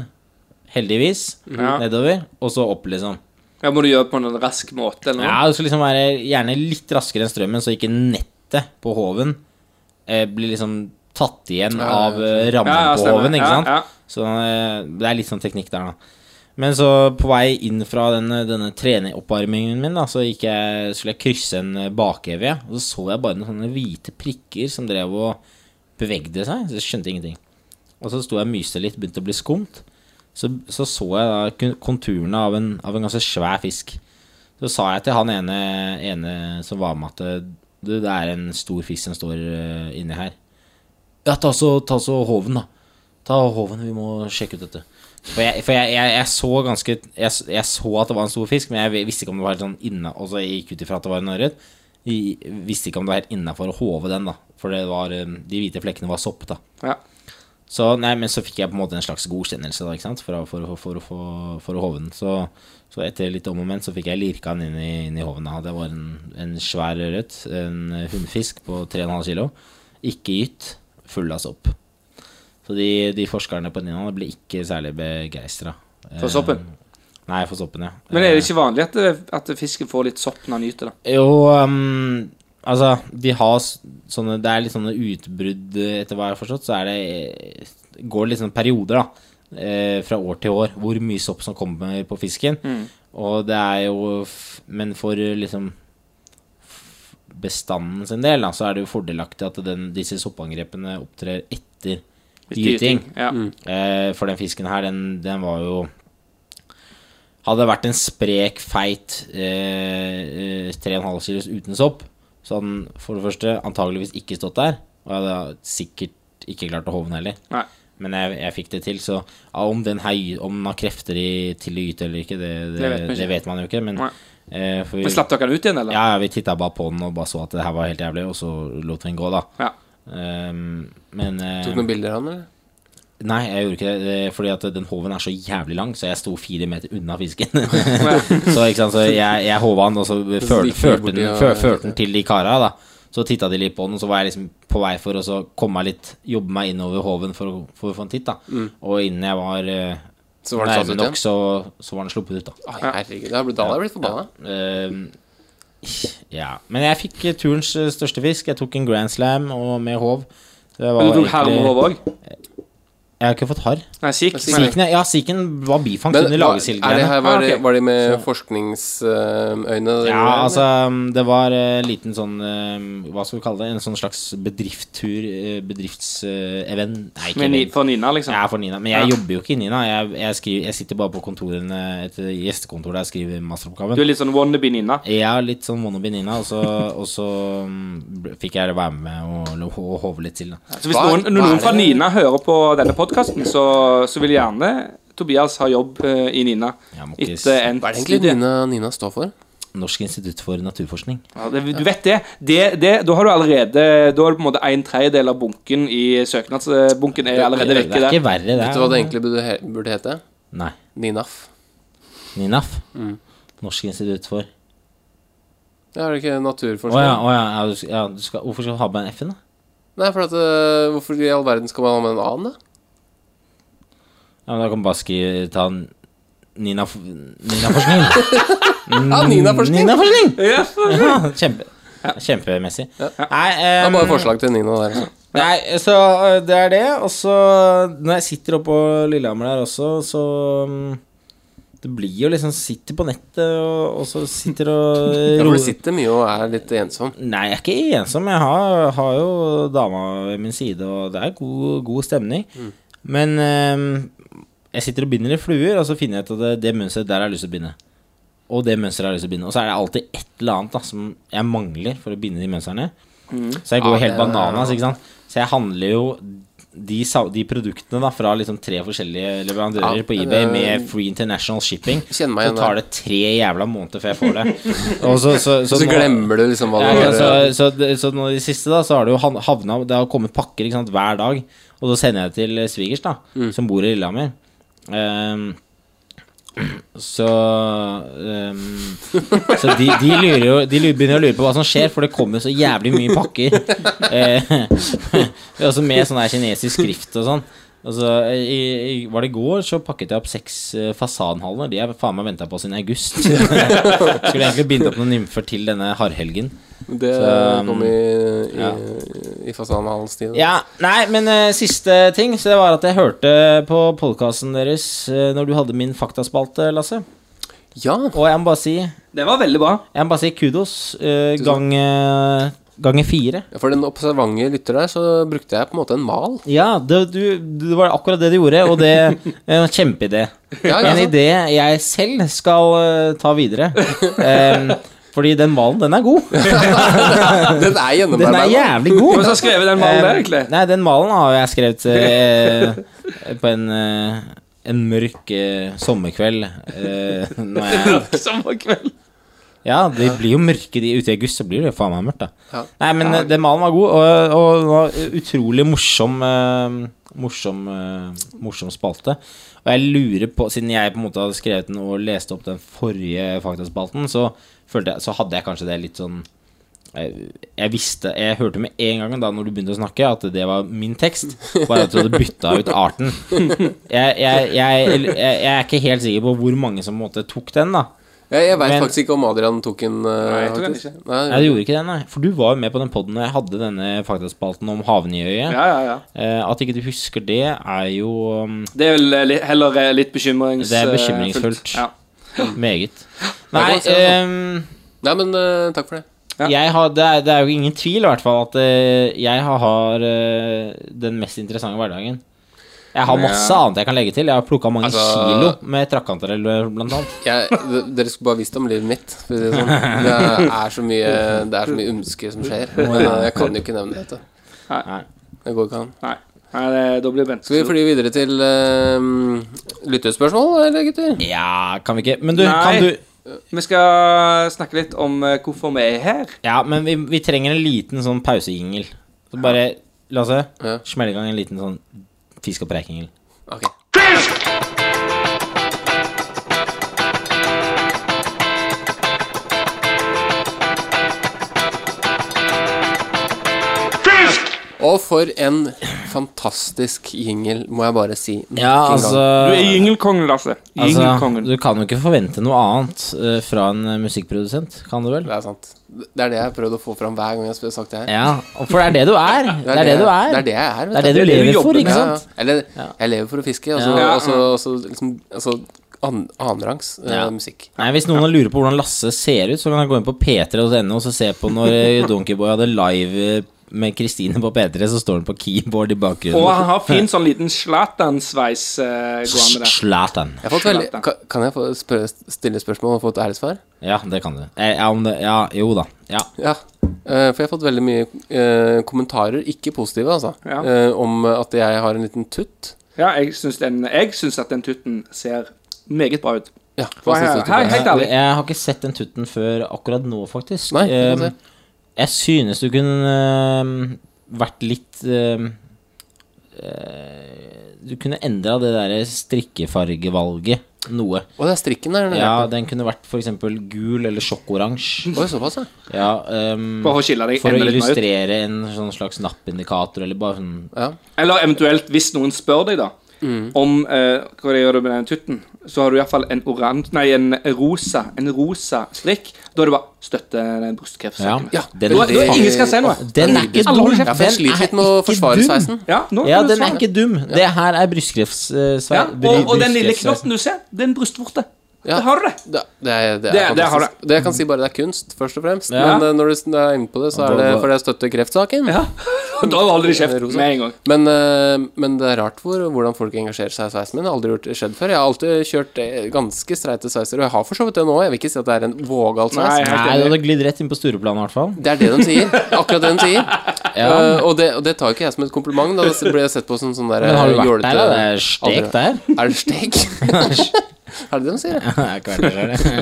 S5: heldigvis,
S6: Ja.
S5: nedover, og så opp, liksom.
S6: Ja, Må du gjøre det på en rask måte eller noe?
S5: Ja, det skal liksom være gjerne litt raskere enn strømmen, så ikke nettet på håven eh, blir liksom tatt igjen
S1: Ja,
S5: av eh, rammen
S6: Ja, ja,
S5: på
S6: stemmer.
S5: håven, ikke
S6: Ja,
S5: sant?
S6: ja.
S5: Så eh, det er litt sånn teknikk der, da. Men så på vei inn fra denne, denne treneoppvarmingen min, da, så gikk jeg, skulle jeg krysse en eh, bakhevje, og så så jeg bare noen sånne hvite prikker som drev og bevegde seg, så jeg skjønte ingenting. Og så sto jeg og myste litt, begynte å bli skumt. Så så, så jeg da kun- konturene av en, av en ganske svær fisk. Så sa jeg til han ene, ene som var med at du, det er en stor fisk som står eh, inni her. Ja, ta så, ta så hoven, da. Ta hoven, vi må sjekke ut dette. For jeg, for jeg, jeg, jeg så ganske jeg, s- jeg så at det var en stor fisk, men jeg vi- visste ikke om det var helt sånn inne Og så jeg gikk ut ifra at det var en ørret. Jeg Visste ikke om det var helt innafor å håve den, da. For det var, eh, de hvite flekkene var sopp, da.
S6: Ja.
S5: Så, nei, men så fikk jeg på en måte en slags godkjennelse da, ikke sant? For, å- for, å- for, å- for, å- for å håve den. Så, så etter litt om og men så fikk jeg lirka den inn i, inn i hoven. da. Det var en, en svær ørret, en hunnfisk på 3,5 kilo. Ikke gytt, full av sopp. Så de, de forskerne på Nina ble ikke særlig begeistra.
S6: For soppen?
S5: Nei, for soppen, ja.
S6: Men er det ikke vanlig at, eh, at fisken får litt sopp når han gyter? da?
S5: Jo, ehm, altså De har s- sånne Det er litt sånne utbrudd eh, etter hva jeg har forstått, så er det eh, Går det litt sånne perioder, da. Eh, fra år til år. Hvor mye sopp som kommer på fisken. Og det er jo f- Men for eh, liksom f- bestanden sin del, da, så er det jo fordelaktig at den, disse soppangrepene opptrer etter gyting.
S6: Ja.
S5: Eh, for den fisken her, den, den var jo Hadde det vært en sprek, feit eh, eh, 3,5 kilos uten sopp, så hadde den for det første antageligvis ikke stått der. Og jeg hadde sikkert ikke klart å hovne heller.
S6: Nei.
S5: Men jeg, jeg fikk det til, så ja, om, den her, gy- om den har krefter i, til å gyte eller ikke, det, det,
S6: Det
S5: det,
S6: vet man
S5: vet, man
S6: ikke.
S5: jo ikke. Men,
S6: Nei.
S5: eh, for vi,
S6: Men slapp dere den ut igjen, eller?
S5: ja, ja, vi titta bare på den og bare så at det her var helt jævlig, og så lot vi den gå, da.
S6: Ja.
S5: Ehm, men eh,
S1: Tok du noen bilder av den, eller?
S5: Nei, jeg gjorde ikke det, det. Fordi at den håven er så jævlig lang, så jeg sto fire meter unna fisken. så ikke sant, så jeg, jeg håva den, og så førte,
S1: gikk du
S5: førte,
S1: borti
S5: den,
S1: og-
S5: før, førte den til de kara. da Så titta de litt på den, og så var jeg liksom på vei for å så komme meg litt jobbe meg innover håven for, å- for å få en titt. da Og innen jeg var eh,
S1: Mm. Så var den satt
S5: nærme
S1: ut
S5: nok,
S1: igjen?
S5: så, så var den sluppet ut. da
S1: Å, herregud, da hadde jeg blitt forbanna.
S5: Ehm, Ja. Men jeg fikk eh, turens eh, største fisk. Jeg tok en grand slam og med håv. Så jeg var
S6: Men du tok
S5: egentlig-
S6: herm og håv òg?
S5: Jeg har ikke fått harr.
S6: Nei, sikk.
S5: Siken, ja, ja, Siken var bifangst
S1: var,
S5: under
S1: er det
S5: lagesildgreiene.
S1: her, var,
S6: Ah, ok.
S1: det, var de med forskningsøyne?
S5: Ja, altså um, Det var en liten sånn um, Hva skal vi kalle det? En sånn slags bedrifttur Bedriftsevent Nei, ikke
S6: Med ni,
S5: event.
S6: for Nina, liksom?
S5: Jeg er for Nina, men jeg
S6: Ja.
S5: jobber jo ikke i Nina. Jeg, jeg, skriver, jeg sitter bare på kontorene etter gjestekontor der jeg skriver masteroppgaven.
S6: Du er litt sånn wannabe Nina?
S5: Ja, litt sånn wannabe Nina, og så, og så um, ble- fikk jeg være med og, lo- og håve litt til. Da.
S6: Så hvis
S1: Hva-
S6: noen, når
S1: hva er
S6: noen fra
S1: det?
S6: Nina hører på denne podkasten, så, så vil gjerne Tobias ha jobb eh, i Nina
S5: Jeg må ikke s-
S6: etter endt
S1: Hva er det egentlig
S6: studie.
S1: Nina, Nina står for?
S5: Norsk institutt for naturforskning.
S6: Ja, det, du vet det. Det, det. Da har du allerede Da er det på en måte en tredjedel av bunken i søknadsbunken er allerede
S5: Det
S6: vekke
S5: er
S6: der.
S5: ikke verre, det.
S1: Vet du hva det egentlig burde, he- burde hete?
S5: Nei.
S1: Ninaf.
S5: NINAF.
S1: Mm.
S5: Norsk institutt for
S1: Ja, er det ikke
S5: Å ja,
S1: naturforskning?
S5: å ja, ja, du skal, ja du skal, hvorfor skal du ha med en F-en, da?
S1: Nei, for at øh, Hvorfor i all verden skal man ha med en annen, da?
S5: Ja, men da kan du bare skrive ta en Nina, f- Nina forskning.
S1: Ja, Nina-forskning!
S5: Mm, Nina forskning!
S6: Ja,
S5: Ja, kjempe, kjempemessig. Nei,
S1: Det er bare
S5: eh,
S1: forslag til Nina der, altså.
S5: nei, så eh, det er det. Og så når jeg sitter oppå Lillehammer der også, så mm, Det blir jo liksom Sitter på nettet og, og så sitter og
S1: Ja, for
S5: roer-
S1: du sitter mye og er litt ensom.
S5: Nei, jeg er ikke ensom. Jeg har, har jo dama ved min side, og det er god, god stemning.
S1: Mm.
S5: Men ehm, jeg sitter og binder i fluer, og så finner jeg ut at det, det mønsteret der har jeg lyst til å binde. Og det mønsteret har jeg lyst til å binde. Og så er det alltid et eller annet da, som jeg mangler for å binde de mønstrene. Så jeg går
S1: Mm. Ja,
S5: helt
S1: det er-
S5: bananas, ikke sant. Så jeg handler jo de, sa- de produktene da, fra liksom tre forskjellige leverandører
S1: Ja,
S5: på
S1: det
S5: eBay
S1: er-
S5: med Free International Shipping.
S1: Kjenner meg
S5: Så
S1: igjen
S5: tar
S1: der.
S5: det tre jævla måneder før jeg får det. Og så, så, så,
S1: Så,
S5: nå-
S1: glemmer du liksom hva
S5: ja,
S1: det
S5: ikke
S1: var.
S5: sant, så, så, det- så nå i det siste da Så har det jo han- havna Det har kommet pakker ikke sant, hver dag Og så sender jeg det til eh, svigers da Som bor i Lillehammer Ehm, Så ehm, Så de, de lurer jo De lurer, begynner å lure på hva som skjer For det kommer jo så jævlig mye pakker uh, Også med sånn her kinesisk skrift og sånn og så, eh, i, i, var det i går så pakket jeg opp seks eh, fasanhaler De har faen meg ventet på siden august Skulle egentlig binde opp noen nymfer til denne harhelgen
S1: Det
S5: Så, um,
S1: kom i, i,
S5: ja.
S1: i fasanhalens tid.
S5: Ja, nei, men eh, siste ting Så det var at jeg hørte på podcasten deres eh, Når du hadde min faktaspalte, Lasse
S1: ja.
S5: Og jeg må bare si Jeg
S6: Det var veldig bra.
S5: må bare si kudos eh,
S1: Tusen takk.
S5: gang, eh, Ganger fire
S1: For den observante lytter der, så brukte jeg på en måte en mal.
S5: Ja, det, du, det var akkurat det du gjorde Og det er en kjempeidé
S1: Ja, ikke
S5: En
S1: sant?
S5: idé jeg selv skal eh, ta videre Em, Fordi den malen, den er god
S1: Den er
S5: Den er
S1: gjennomarbeidet.
S5: jævlig god
S6: Hvem som har skrevet den malen der, egentlig?
S5: Eh, Nei, den malen har jeg skrevet eh, på en, eh, en mørk eh, sommerkveld. Eh, når jeg,
S6: Sommerkveld.
S5: ja, de blir jo mørke de, ute i august, så blir det jo faen meg mørkt, da.
S1: Ja.
S5: Nei, men eh, den malen var god, og, og den var utrolig morsom eh, morsom, eh, morsom spalte. Og jeg lurer på, siden jeg på en måte hadde skrevet den og leste opp den forrige faktaspalten, så, følte jeg, så hadde jeg kanskje det litt sånn jeg, jeg visste Jeg hørte med en gang da når du begynte å snakke, at det var min tekst. Bare at du hadde bytta ut arten. Jeg, jeg, jeg, jeg, jeg er ikke helt sikker på hvor mange som på en måte tok den, da.
S1: Jeg, jeg veit
S5: Men-
S1: faktisk ikke om Adrian tok en uh,
S6: Nei, jeg tok den
S1: faktisk.
S6: ikke.
S1: Nei,
S5: Nei, du gjorde ikke det, nei. For du var jo med på den poden da jeg hadde denne faktaspalten om Havnøyøyet.
S6: Ja, ja, ja.
S5: Eh, at ikke du husker det, er jo um,
S6: Det er vel eh, li- heller eh, litt
S5: Det er bekymringsfullt.
S6: bekymringsfullt. Ja.
S5: Meget. Nei,
S1: godt å se, altså.
S5: ehm,
S1: Nei, men eh, takk for det.
S5: jeg har, det, er, det er jo ingen tvil i hvert fall at eh, jeg har, har eh, den mest interessante hverdagen. Jeg har masse annet jeg kan legge til. Jeg har plukka mange
S1: Altså-
S5: kilo med trakkantarell, blant annet.
S1: Jeg, d- dere skulle bare visst om livet mitt. For å si det, sånn. det, er så mye, det er så mye umske som skjer. Men eh, jeg kan jo ikke nevne dette.
S5: Nei.
S1: Det går ikke an.
S6: Nei, Nei det, da blir Bente
S1: Skal vi fly videre til eh, lyttespørsmål, eller, gutter?
S5: Ja, kan vi ikke Men du,
S6: Nei.
S5: kan du
S6: Vi skal snakke litt om eh, hvorfor vi er her.
S5: Ja, men vi, vi trenger en liten sånn pausejingel. Så bare la oss se.
S1: Ja.
S5: Smelle i gang en liten sånn fisk og preik-jingel.
S1: Ok. Og for en fantastisk jingle, må jeg bare si. nok
S5: Ja,
S1: en
S5: altså,
S1: gang.
S6: Du er gyngelkongen, Lasse.
S5: altså
S6: Gyngelkongen.
S5: Du kan jo ikke forvente noe annet eh, fra en eh, musikkprodusent, kan du vel?
S1: Det er sant. Det er det jeg har prøvd å få fram hver gang jeg har sagt det her.
S5: Ja, og for det er det du er. Det er det du er.
S1: Det er det jeg er. vet
S5: Det er det du
S6: det du
S5: lever
S6: jobber
S5: for, ikke
S1: Ja, ja.
S5: sant?
S1: Eller jeg lever for å fiske, og så,
S6: Ja.
S1: og så, og så liksom altså, an, annenrangs eh,
S5: Ja.
S1: musikk.
S5: Nei, Hvis noen lurer på hvordan Lasse ser ut, så kan han gå inn på p3.no og så se på når eh, Donkeyboy hadde live eh, med Kristine på P3, så står han på keyboard i
S6: Og han
S5: bakgrunnen.
S6: har fin sånn liten Zlatan-sveis eh, gående der.
S5: Slatan.
S1: Jeg har fått veldig,
S6: Slett, da.
S1: kan- kan jeg få spørre, stille spørsmål og få et ærlig svar?
S5: Ja, det kan du. Eh, Ja, om det, ja, jo da. Ja.
S1: Ja, eh, for jeg har fått veldig mye eh, kommentarer, ikke positive altså,
S6: Ja.
S1: eh, om at jeg har en liten tutt.
S6: Ja, jeg syns, den, jeg syns at den tutten ser meget bra ut.
S1: Ja,
S6: For
S1: hva synes
S6: her,
S1: du til
S6: her,
S1: det?
S6: helt ærlig.
S5: Jeg har ikke sett den tutten før akkurat nå, faktisk.
S1: Nei, vi får
S5: Ehm, jeg synes du kunne ehm, vært litt ehm, eh, Du kunne endra det derre strikkefargevalget noe.
S1: Å, det er strikken der. den er
S5: Ja,
S1: på.
S5: den kunne vært f.eks. gul eller sjokkoransje.
S1: Oi, såpass, ja.
S5: Ja, ehm,
S6: Bare for å skille deg
S5: for å
S6: enda litt mer ut.
S5: illustrere en sånn slags nappindikator, eller bare sånn
S1: ja.
S6: Eller eventuelt, hvis noen spør deg, da,
S5: Mm.
S6: om eh, hva det gjør du med den tutten, så har du iallfall en oransje Nei, en rosa, en rosa strikk. Da er det bare støtte den brystkreftsøkende.
S5: Ja, den-
S6: da, da, ingen skal si noe.
S5: Den er ikke
S6: Alle
S5: dum!
S6: holder kjeft.
S1: Ja, for jeg
S5: Den er
S1: sliter litt med å
S5: ikke
S1: forsvare
S5: dum.
S1: sveisen.
S6: Ja, nå,
S5: Ja,
S6: nå
S5: den er
S6: svar.
S5: ikke dum. Det her er brystkreftsveis.
S6: ja, og, og den lille knotten du ser, det er en brystvorte.
S1: Ja.
S6: Der har du det.
S1: Det, det, er- det
S6: Det-
S1: er
S6: det har
S1: fantastisk. Det jeg kan si bare det er kunst, først og fremst.
S5: Ja.
S1: Men eh, når du s- er inne på det, så er det fordi jeg støtter kreftsaken.
S6: Ja. Og da holder de kjeft
S1: Rosa.
S6: med en gang.
S1: Men, eh, men det er rart hvor, hvordan folk engasjerer seg i sveisen min. Det har aldri gjort- skjedd før. Jeg har alltid kjørt eh, ganske streite sveiser, og jeg har for så vidt det nå. Jeg vil ikke si at det er en vågal sveis.
S6: Nei,
S5: Nei, du hadde glidd rett inn på Stureplan i hvert fall.
S1: Det er det de sier. Akkurat det de sier.
S5: Ja.
S1: Eh, og, det, og det tar jo ikke jeg som et kompliment. Da Det blir jeg sett på som sånn der
S5: Men har du
S1: eh,
S5: vært der, da? Det er
S1: Aldri.
S5: stek der.
S1: Er det stek? er det det de sier? ja?
S5: Nei, ikke vært der, det.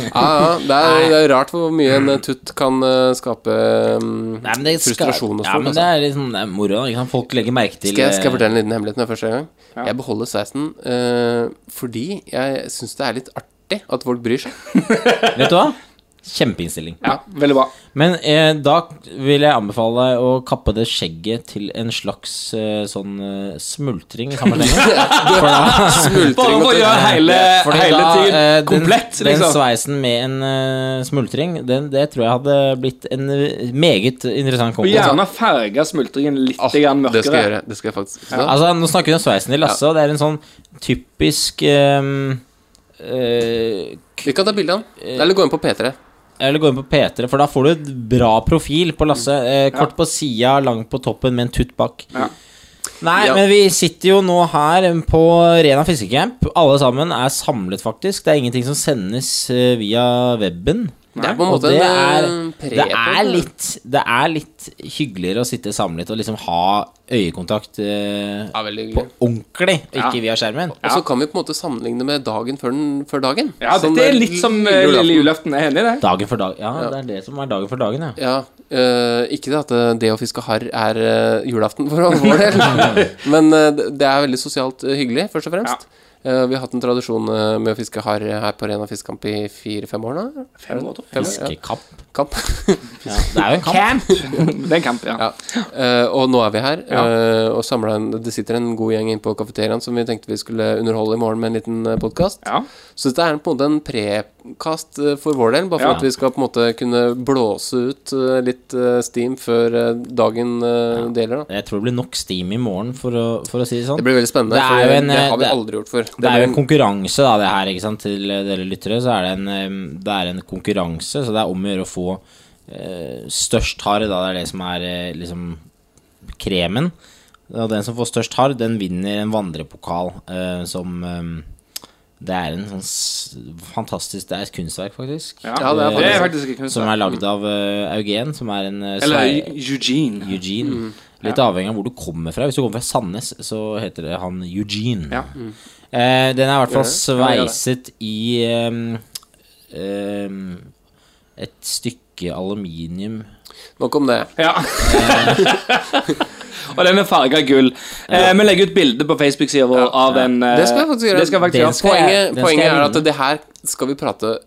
S1: Ja, ja. Det er, det er rart hvor mye en eh, tutt kan eh, skape mm,
S5: Nei, men det skal,
S1: frustrasjon hos
S5: ja,
S1: folk.
S5: men det
S1: altså.
S5: er litt sånn det er moro. Ikke sant? Folk legger merke til
S1: Skal jeg, skal jeg
S5: eh,
S1: fortelle en liten hemmelighet når jeg først er i gang? Jeg beholder sveisen eh, fordi jeg syns det er litt artig at folk bryr seg.
S5: eh, Vet du hva? Kjempeinnstilling.
S6: Ja, veldig bra.
S5: Men eh, da vil jeg anbefale deg å kappe det skjegget til en slags eh, sånn eh, smultring i samme slenge. For da-
S6: Bare
S1: Smultring
S6: for å
S1: og
S6: gjøre hele,
S5: Fordi
S6: hele
S5: da,
S6: tiden
S5: eh, den-
S6: komplett,
S5: Den
S6: liksom.
S5: sveisen med en eh, smultring, den, det tror jeg hadde blitt en eh, meget interessant
S6: Og
S5: kombo.
S6: gjerne farge smultringen litt grann
S1: Det skal jeg
S6: mørkere.
S1: gjøre. Det skal jeg faktisk.
S5: Altså, nå snakker vi om sveisen til Lasse, og det er en sånn typisk ehm, eh,
S1: Vi kan ta bilde av den. Eller gå inn på P3.
S5: Eller gå inn på P3, for da får du et bra profil på Lasse.
S1: Mm.
S5: Eh, kort på sida, langt på toppen, med en tutt bak.
S6: Ja.
S5: Nei,
S1: Ja.
S5: men vi sitter jo nå her på Rena fiskecamp. Alle sammen er samlet, faktisk. Det er ingenting som sendes eh, via weben.
S1: Det er på en
S5: Og
S1: måte
S5: det er,
S1: en eh,
S5: det, er
S1: prepod.
S5: litt, det er litt hyggeligere å sitte samlet og liksom ha øyekontakt eh,
S1: Ja, veldig hyggelig.
S5: på ordentlig, og ikke via skjermen.
S1: Og så kan vi på en måte sammenligne med dagen før, den, før dagen.
S6: Ja,
S1: Sånn
S6: dette er
S1: der
S6: litt som
S1: lille
S6: eh,
S1: julaften.
S6: lille julaften. Jeg er enig i det.
S5: Dagen for dag. Ja, det er det som er dagen for dagen, ja.
S1: Ja, øh, ikke det at øh, det å fiske harr er øh, julaften for vår del, men øh, det det er veldig sosialt øh, hyggelig, først og fremst. Eh, vi har hatt en tradisjon øh, med å fiske harr her på Rena fiskekamp i fire-fem år nå.
S6: Fem år,
S1: Fem år,
S6: tror jeg.
S1: ja.
S5: Fiskekamp.
S1: Kamp.
S5: Ja, det er jo en kamp.
S6: Det er en kamp, ja.
S1: Ja. Eh, og nå er vi her, eh, og samlet en Det sitter en god gjeng inne på kafeteriaen som vi tenkte vi skulle underholde i morgen med en liten podkast.
S6: Ja.
S1: Så dette er på en måte en prekast eh, for vår del, bare for
S6: Ja.
S1: at vi skal på en måte kunne blåse ut eh, litt eh, steam før eh, dagen eh, deler. da
S5: Jeg tror det blir nok steam i morgen, for å, for å si det sånn.
S1: Det blir veldig spennende,
S5: Det er
S1: for
S5: jo
S1: det,
S5: en,
S1: har vi
S5: det-
S1: aldri gjort før.
S5: Det er jo en
S1: ble-
S5: konkurranse, da, det her, ikke sant. Til eh, dere lyttere, så er det en, eh, det er en konkurranse, så det er om å gjøre å få eh, størst hard, da. Det er det som er eh, liksom kremen. Og den som får størst hard, den vinner en vandrepokal eh, som eh, Det er en sånn s- fantastisk Det er et kunstverk, faktisk.
S6: Ja,
S1: Ja, det er
S5: Eh,
S6: det er faktisk ikke kunst.
S5: som er lagd av eh, Eugen, som er en eh,
S6: Eller
S5: svei-
S6: Eugene.
S5: Eugene.
S6: Mm.
S5: Litt avhengig av hvor du kommer fra. Hvis du kommer fra Sandnes, så heter det han Eugene.
S6: Ja.
S5: Eh, den er i hvert fall
S6: Gjør det? Ja, gjør det.
S5: sveiset i ehm, ehm, et stykke aluminium.
S1: Nok om det.
S6: Ja. Og den er farga gull. Eh, vi legger ut bilde på Facebook-sida vår av den. eh,
S1: Det skal jeg faktisk gjøre.
S6: Det skal jeg
S5: Den
S6: faktisk gjøre.
S5: skal jeg-
S1: Poenget,
S5: den skal
S1: poenget
S5: jeg
S1: er
S5: vinne.
S1: at det her skal vi prate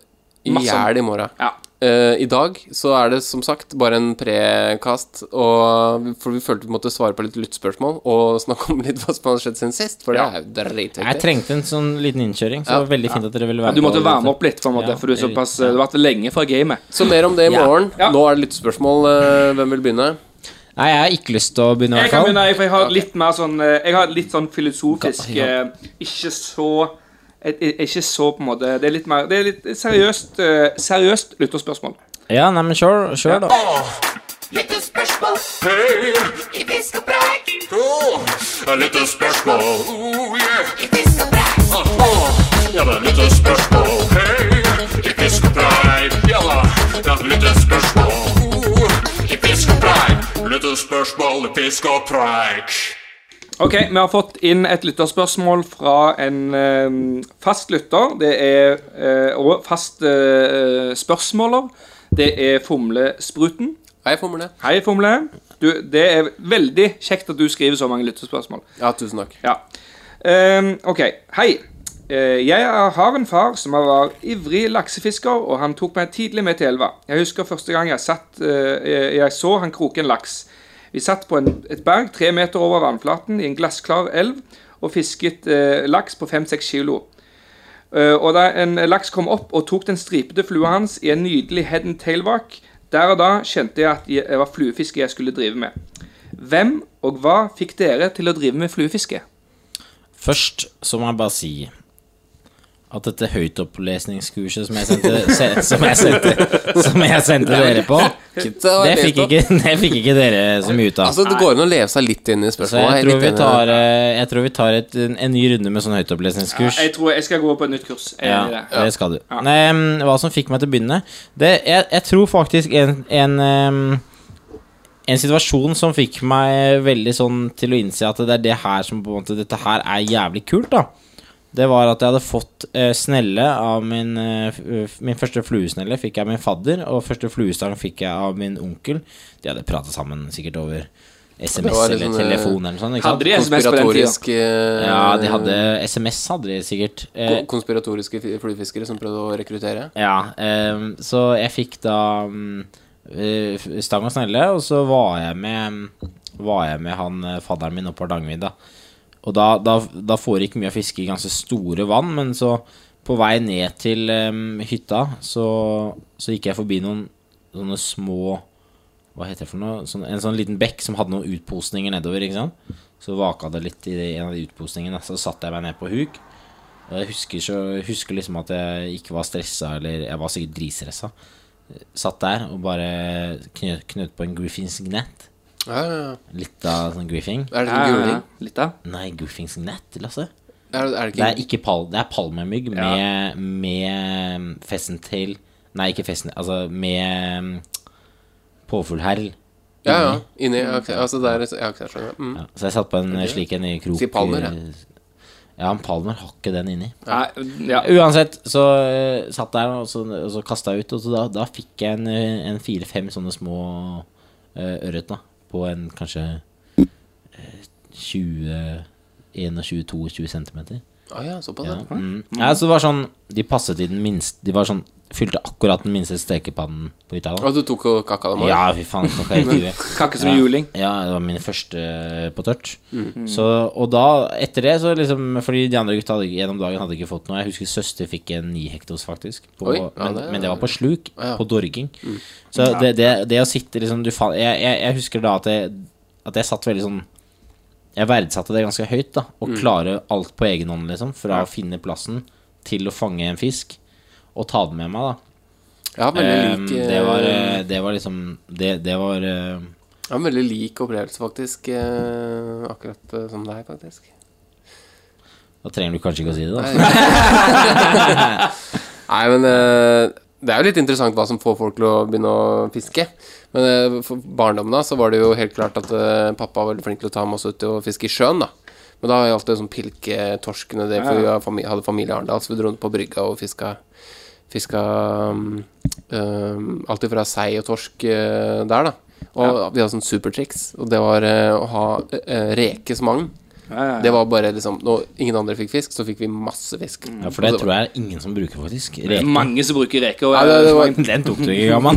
S1: i
S6: Masse om.
S1: hjel i morgen.
S6: Ja.
S1: Eh, I dag så er det som sagt bare en prekast, og for vi følte vi måtte svare på litt lyttspørsmål og snakke om litt hva som har skjedd siden sist, for det er jo
S5: Jeg
S1: dritviktig.
S5: trengte en sånn liten innkjøring, så det var veldig fint at dere ville være med.
S6: Du måtte
S5: på-
S6: varme opp litt, på en måte,
S5: Ja,
S6: for du er
S5: det er riktig.
S6: såpass eh, Du har vært lenge fra gamet.
S1: Så mer om det i
S5: Ja.
S1: morgen.
S6: Ja.
S1: Nå er det lyttspørsmål. eh, Hvem vil begynne?
S5: Nei, jeg har ikke lyst til å begynne, i
S6: Jeg
S5: hvert
S6: kan
S5: fall.
S6: begynne, jeg, for jeg har litt mer sånn eh, Jeg har litt sånn filosofisk
S1: Ga- ja.
S6: eh, Ikke så jeg- jeg- Ikke så på en måte Det er litt mer Det er litt seriøst eh, Seriøst lytterspørsmål.
S5: Ja, nei, men sure, sure da.
S3: Et lite spørsmål. Oh, yeah. Åh, Ja, det er et lite spørsmål. Hei, i fiskepreik. Ja da, det er et lite spørsmål. Oh, I fiskepreik. Lite spørsmål i fiskepreik.
S6: Ok, vi har fått inn et lytterspørsmål fra en eh, fast lytter. Det er eh, Og fast eh, spørsmåler. Det er Fomlespruten.
S1: Hei, Fomle.
S6: Hei, Fomle. Du, det er veldig kjekt at du skriver så mange lytterspørsmål.
S1: Ja, tusen takk.
S6: Ja. Ehm, ok, hei. Eh, jeg har en far som var ivrig laksefisker, og han tok meg tidlig med til elva. Jeg husker første gang jeg, satt, eh, jeg så han kroke en laks. Vi satt på en, et berg tre meter over vannflaten i en glassklar elv og fisket eh, laks på fem-seks kilo. Eh, og da en laks kom opp og tok den stripete flua hans i en nydelig head and tail-vak, der og da kjente jeg at jeg- det var fluefiske jeg skulle drive med. Hvem og hva fikk dere til å drive med fluefiske?
S5: Først så må jeg bare si at dette høytopplesningskurset som jeg sendte, se- som jeg sendte, som jeg sendte dere på, det fikk, ikke, det fikk ikke dere så mye ut av.
S1: Altså, det går an å leve seg litt inn i
S5: Så
S1: spørsmålet.
S5: jeg
S1: er
S5: tror
S1: litt enig
S5: vi
S1: i det.
S5: tar, eh, jeg tror vi tar et, en, en ny runde med sånn høytopplesningskurs.
S6: Jeg tror jeg skal gå på et nytt kurs. Jeg er enig i
S5: Ja,
S6: det.
S5: det skal du. Nei, mm, hva som fikk meg til å begynne det, jeg, jeg tror faktisk en, en mm, En situasjon som fikk meg veldig sånn til å innse at det er det her som på en måte Dette her er jævlig kult, da. Det var at jeg hadde fått eh, snelle av min eh, f- f- Min første fluesnelle fikk jeg av min fadder, og første fluestang fikk jeg av min onkel. De hadde pratet sammen sikkert over
S1: Det
S5: SMS
S1: var
S5: eller
S1: liksom, eh,
S5: telefon eller noe sånt. Ikke sant?
S6: Hadde de SMS på den tida?
S1: Konspiratorisk eh,
S5: Ja, de hadde SMS, hadde de sikkert. Eh,
S1: ko- Konspiratoriske fi- fluefiskere som prøvde å rekruttere?
S5: Ja, ehm, så jeg fikk da mm, eh, f- stang og snelle, og så var jeg med, var jeg med han eh, fadderen min opp på Hardangervidda. Og da, da, da foregikk mye av fisket i ganske store vann, men så på vei ned til ehm, hytta, så, så gikk jeg forbi noen sånne små Hva heter det for noe? Sånn, en sånn liten bekk som hadde noen utposninger nedover, ikke sant? Så vaka det litt i en av de utposningene, så satte jeg meg ned på huk. Og jeg husker, så, husker liksom at jeg ikke var stressa, eller jeg var sikkert dritstressa. Satt der og bare knøt, knøt på en Griffins gnett.
S1: Ja, ja, ja.
S5: Litt av sånn griffing.
S1: Er det sånn guling?
S6: Litt da.
S5: Nei, Griffins gnett, Lasse.
S1: Er, er det
S5: Det
S1: ikke
S5: er ikke pal, det er palmemygg med, med fessentail Nei, ikke fessentail, altså med mm, påfuglherl.
S1: Ja, ja. Inni ja, ok, Altså, det er Ja, ok, jeg skjønner. Mm.
S5: Ja, så jeg satt på en slik en i krok. eh,
S1: Si palmer, ja.
S5: Ja, en palmer har ikke den inni.
S6: Nei, ja.
S5: Uansett, så eh, satt der og så, og så kasta jeg ut, og så da, da fikk jeg en, eh, en fire-fem sånne små eh, ørret da, på en kanskje eh, 20 21-22 centimeter.
S1: Ah, ja, såpass,
S5: Ja.
S1: ja.
S5: Mm. ja, så det var sånn De passet i den minste De var sånn Fylte akkurat den minste stekepannen på hytta. da.
S1: Og du tok og kakka dem
S5: Ja, fy faen. så kan jeg ikke gjøre.
S6: Kakke som juling.
S5: Ja, det var min første eh, på tørt.
S1: Mm.
S5: Så, og da, etter det, så liksom Fordi de andre gutta hadde, gjennom dagen hadde ikke fått noe. Jeg husker søster fikk en ni hektos, faktisk. På,
S1: Oi, ja,
S5: men,
S1: det-
S5: men det var på sluk.
S1: Ja. Mm.
S5: På dorging. Så det, det, det å sitte liksom du, fa- jeg, jeg, jeg husker da at jeg, at jeg satt veldig sånn jeg verdsatte det ganske høyt, da.
S1: Mm.
S5: Å klare alt på egen hånd, liksom. Fra å finne plassen til å fange en fisk, og ta den med meg, da.
S1: Jeg har veldig
S5: Eh,
S1: lik,
S5: det, var,
S1: eh,
S5: eh, det var liksom Det, det var eh,
S1: jeg har en veldig lik opplevelse, faktisk. eh, Akkurat eh, som deg, faktisk.
S5: Da trenger du kanskje ikke å si det, da.
S1: Nei, men eh, det er jo litt interessant hva som får folk til å begynne å fiske. Men eh, for barndommen da, så var det jo helt klart at eh, pappa var veldig flink til å ta med oss ut og fiske i sjøen, da. Men da har jeg alltid sånn pilketorskene det, for vi har fami- hadde familie i Arendal, så vi dro på brygga og fiska Fiska um, um, alltid fra sei og torsk eh, der, da. Og vi hadde sånn supertriks, og det var eh, å ha eh, reke som agn.
S6: ja, ja.
S1: Det var bare liksom Når ingen andre fikk fisk, så fikk vi masse fisk.
S5: Ja, for det tror jeg er ingen som bruker, faktisk. Reken.
S6: Mange som bruker reker. Og,
S1: Nei, det, det var,
S5: Den tok du ikke, gammal.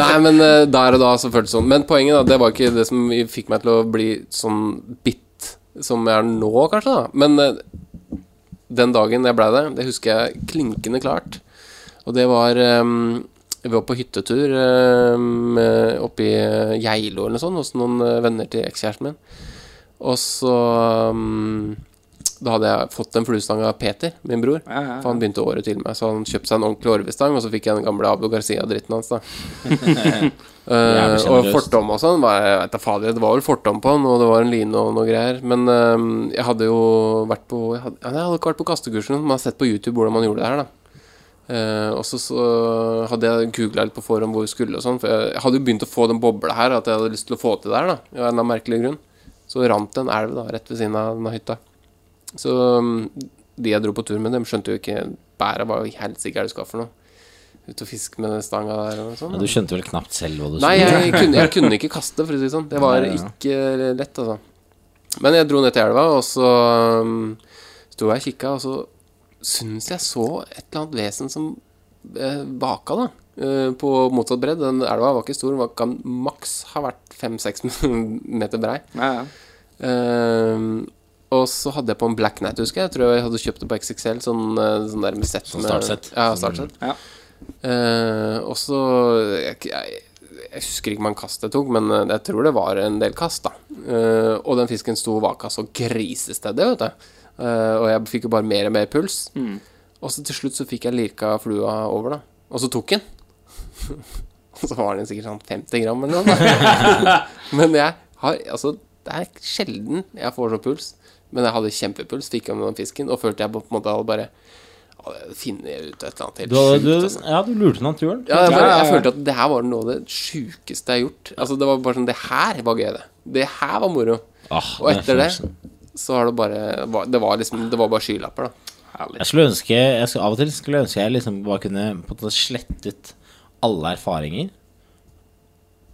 S1: Nei, men eh, der og da så føltes det sånn. Men poenget, da, det var ikke det som fikk meg til å bli sånn bitt som jeg er nå, kanskje, da. Men eh, den dagen jeg blei det, det husker jeg klinkende klart. Og det var eh, Vi var på hyttetur eh, oppe i eh, Geilo eller noe sånt, hos noen eh, venner til ekskjæresten min. Og så eh, Da hadde jeg fått en fluestang av Peter, min bror.
S6: ja, ja.
S1: For han begynte året til meg, så han kjøpte seg en ordentlig orvestang, og så fikk jeg den gamle Abdo Garcia-dritten hans, da. Eh,
S5: Jævlig
S1: og
S5: generøst.
S1: fortom og sånn. var- Jeg vet da fader, det var vel fortom på han, og det var en line og noe greier. Men eh, jeg hadde jo vært på Jeg hadde, ja, jeg hadde ikke vært på kastekursen, men jeg har sett på YouTube hvordan man gjorde det her, da. Eh, og så, så hadde jeg googla litt på forhånd hvor vi skulle og sånn, for jeg, jeg hadde jo begynt å få den bobla her, at jeg hadde lyst til å få til det her, da, av en eller annen merkelig grunn. Så rant det en elv da, rett ved siden av denne hytta. Så um, de jeg dro på tur med, dem skjønte jo ikke bæret. Hva i helsike er det du skal for noe? Ut og fiske med den stanga der og sånn.
S5: Du skjønte vel knapt selv hva du
S1: Nei,
S5: skulle
S1: jeg kunne, jeg kunne ikke kaste, for å si det sånn. Det var
S5: Nei, ja.
S1: ikke lett, altså. Men jeg dro ned til elva, og så um, sto jeg og kikka, og så syns jeg så et eller annet vesen som eh, vaka, da. eh, På motsatt bredd. Den elva var ikke stor, den var- kan maks ha vært fem-seks meter brei.
S6: ja, ja.
S1: Ehm, og så hadde jeg på en Black Night, husker jeg. Jeg tror jeg hadde kjøpt det på XXL. Sånn, eh, sånn der med sett
S5: Sånn
S1: med-
S5: startsett.
S1: Ja, startsett.
S6: Ja.
S1: Eh, og så jeg, jeg, jeg husker ikke mange kast jeg tok, men eh, jeg tror det var en del kast, da. Eh, og den fisken sto og vaka så grisestedet, vet du. Eh, og jeg fikk jo bare mer og mer puls. Og så til slutt så fikk jeg lirka flua over, da. Og så tok den. Og så var den sikkert sånn 50 gram eller noe. Da. Men jeg har Altså, det er sjelden jeg får så puls. Men jeg hadde kjempepuls, fikk om den fisken, og følte jeg på en måte hadde bare å, finne ut et eller annet helt
S5: Du, hadde-
S1: sjukt.
S5: du,
S1: altså.
S5: ja, du lurte naturen.
S1: Ja, jeg,
S6: Ja,
S1: bare,
S6: ja,
S1: jeg
S6: ja.
S1: følte at det her var noe av det sjukeste jeg har gjort. Altså, det var bare sånn Det her var gøy, det. Det her var moro.
S5: Ah,
S1: Og
S5: den
S1: etter det
S5: følelsen.
S1: så har det bare var- Det var liksom Det var bare skylapper, da.
S5: Jeg skulle ønske jeg skulle, Av og til skulle jeg ønske jeg liksom bare kunne på en måte slettet alle erfaringer.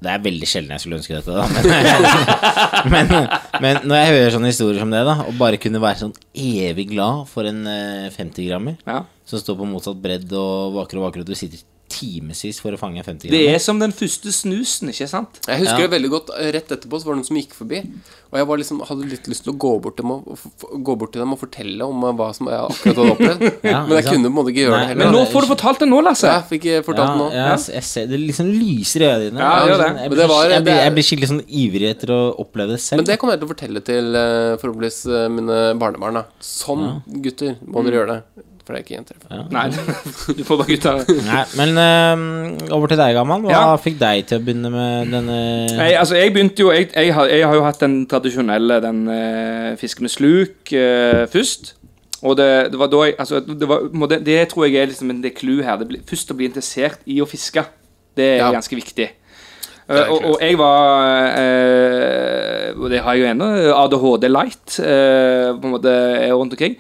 S5: Det er veldig sjelden jeg skulle ønske dette, da. Men, men, men når jeg hører sånne historier som det, da, og bare kunne være sånn evig glad for en eh, 50-grammer
S6: Ja.
S5: som står på motsatt bredd og vaker og vaker, og du sitter timevis for å fange en 50-grammer.
S6: Det er som den første snusen, ikke sant?
S1: Jeg husker
S5: Ja.
S1: det veldig godt. Rett etterpå så var det noen som gikk forbi, og jeg var liksom, hadde litt lyst til å gå bort, dem og, f- f- gå bort til dem og fortelle om eh, hva som jeg akkurat hadde opplevd.
S5: Ja,
S1: Men
S5: ikke
S1: jeg
S5: sant?
S1: kunne på en måte ikke gjøre
S5: Nei,
S1: det
S6: Men
S1: heller.
S6: nå får du fortalt det nå, Lasse.
S1: Jeg fikk eh, fortalt den nå.
S5: Ja, jeg, jeg ser, det liksom lyser i øynene dine.
S6: Ja,
S5: Jeg blir
S6: gjør det.
S5: sånn-
S1: Men
S5: Jeg,
S1: det
S5: blir,
S1: var-
S5: jeg, blir,
S1: det-
S5: jeg blir skikkelig sånn ivrig etter å oppleve det selv.
S1: Men det kommer jeg til å fortelle til eh, forhåpentligvis eh, mine barnebarn. da Sånn, gutter, må
S6: Mm.
S1: dere gjøre det. For det er ikke jenter.
S6: Nei, du får bare gutta.
S5: Nei, men øhm, over til deg, Gaman. Hva
S6: Ja.
S5: fikk deg til å begynne med denne
S6: Nei, altså, jeg begynte jo Jeg, jeg, har, jeg har jo hatt den tradisjonelle den eh, fiske med sluk eh, først. Og det, det var da jeg altså, det, var, må det, det tror jeg er liksom en- det clou her. Det blir- først å bli interessert i å fiske. Det er
S1: Ja.
S6: ganske viktig.
S1: er
S6: Eh, og,
S1: klart.
S6: og jeg var eh, Og det har jeg jo ennå. ADHD light eh, på en måte er rundt omkring.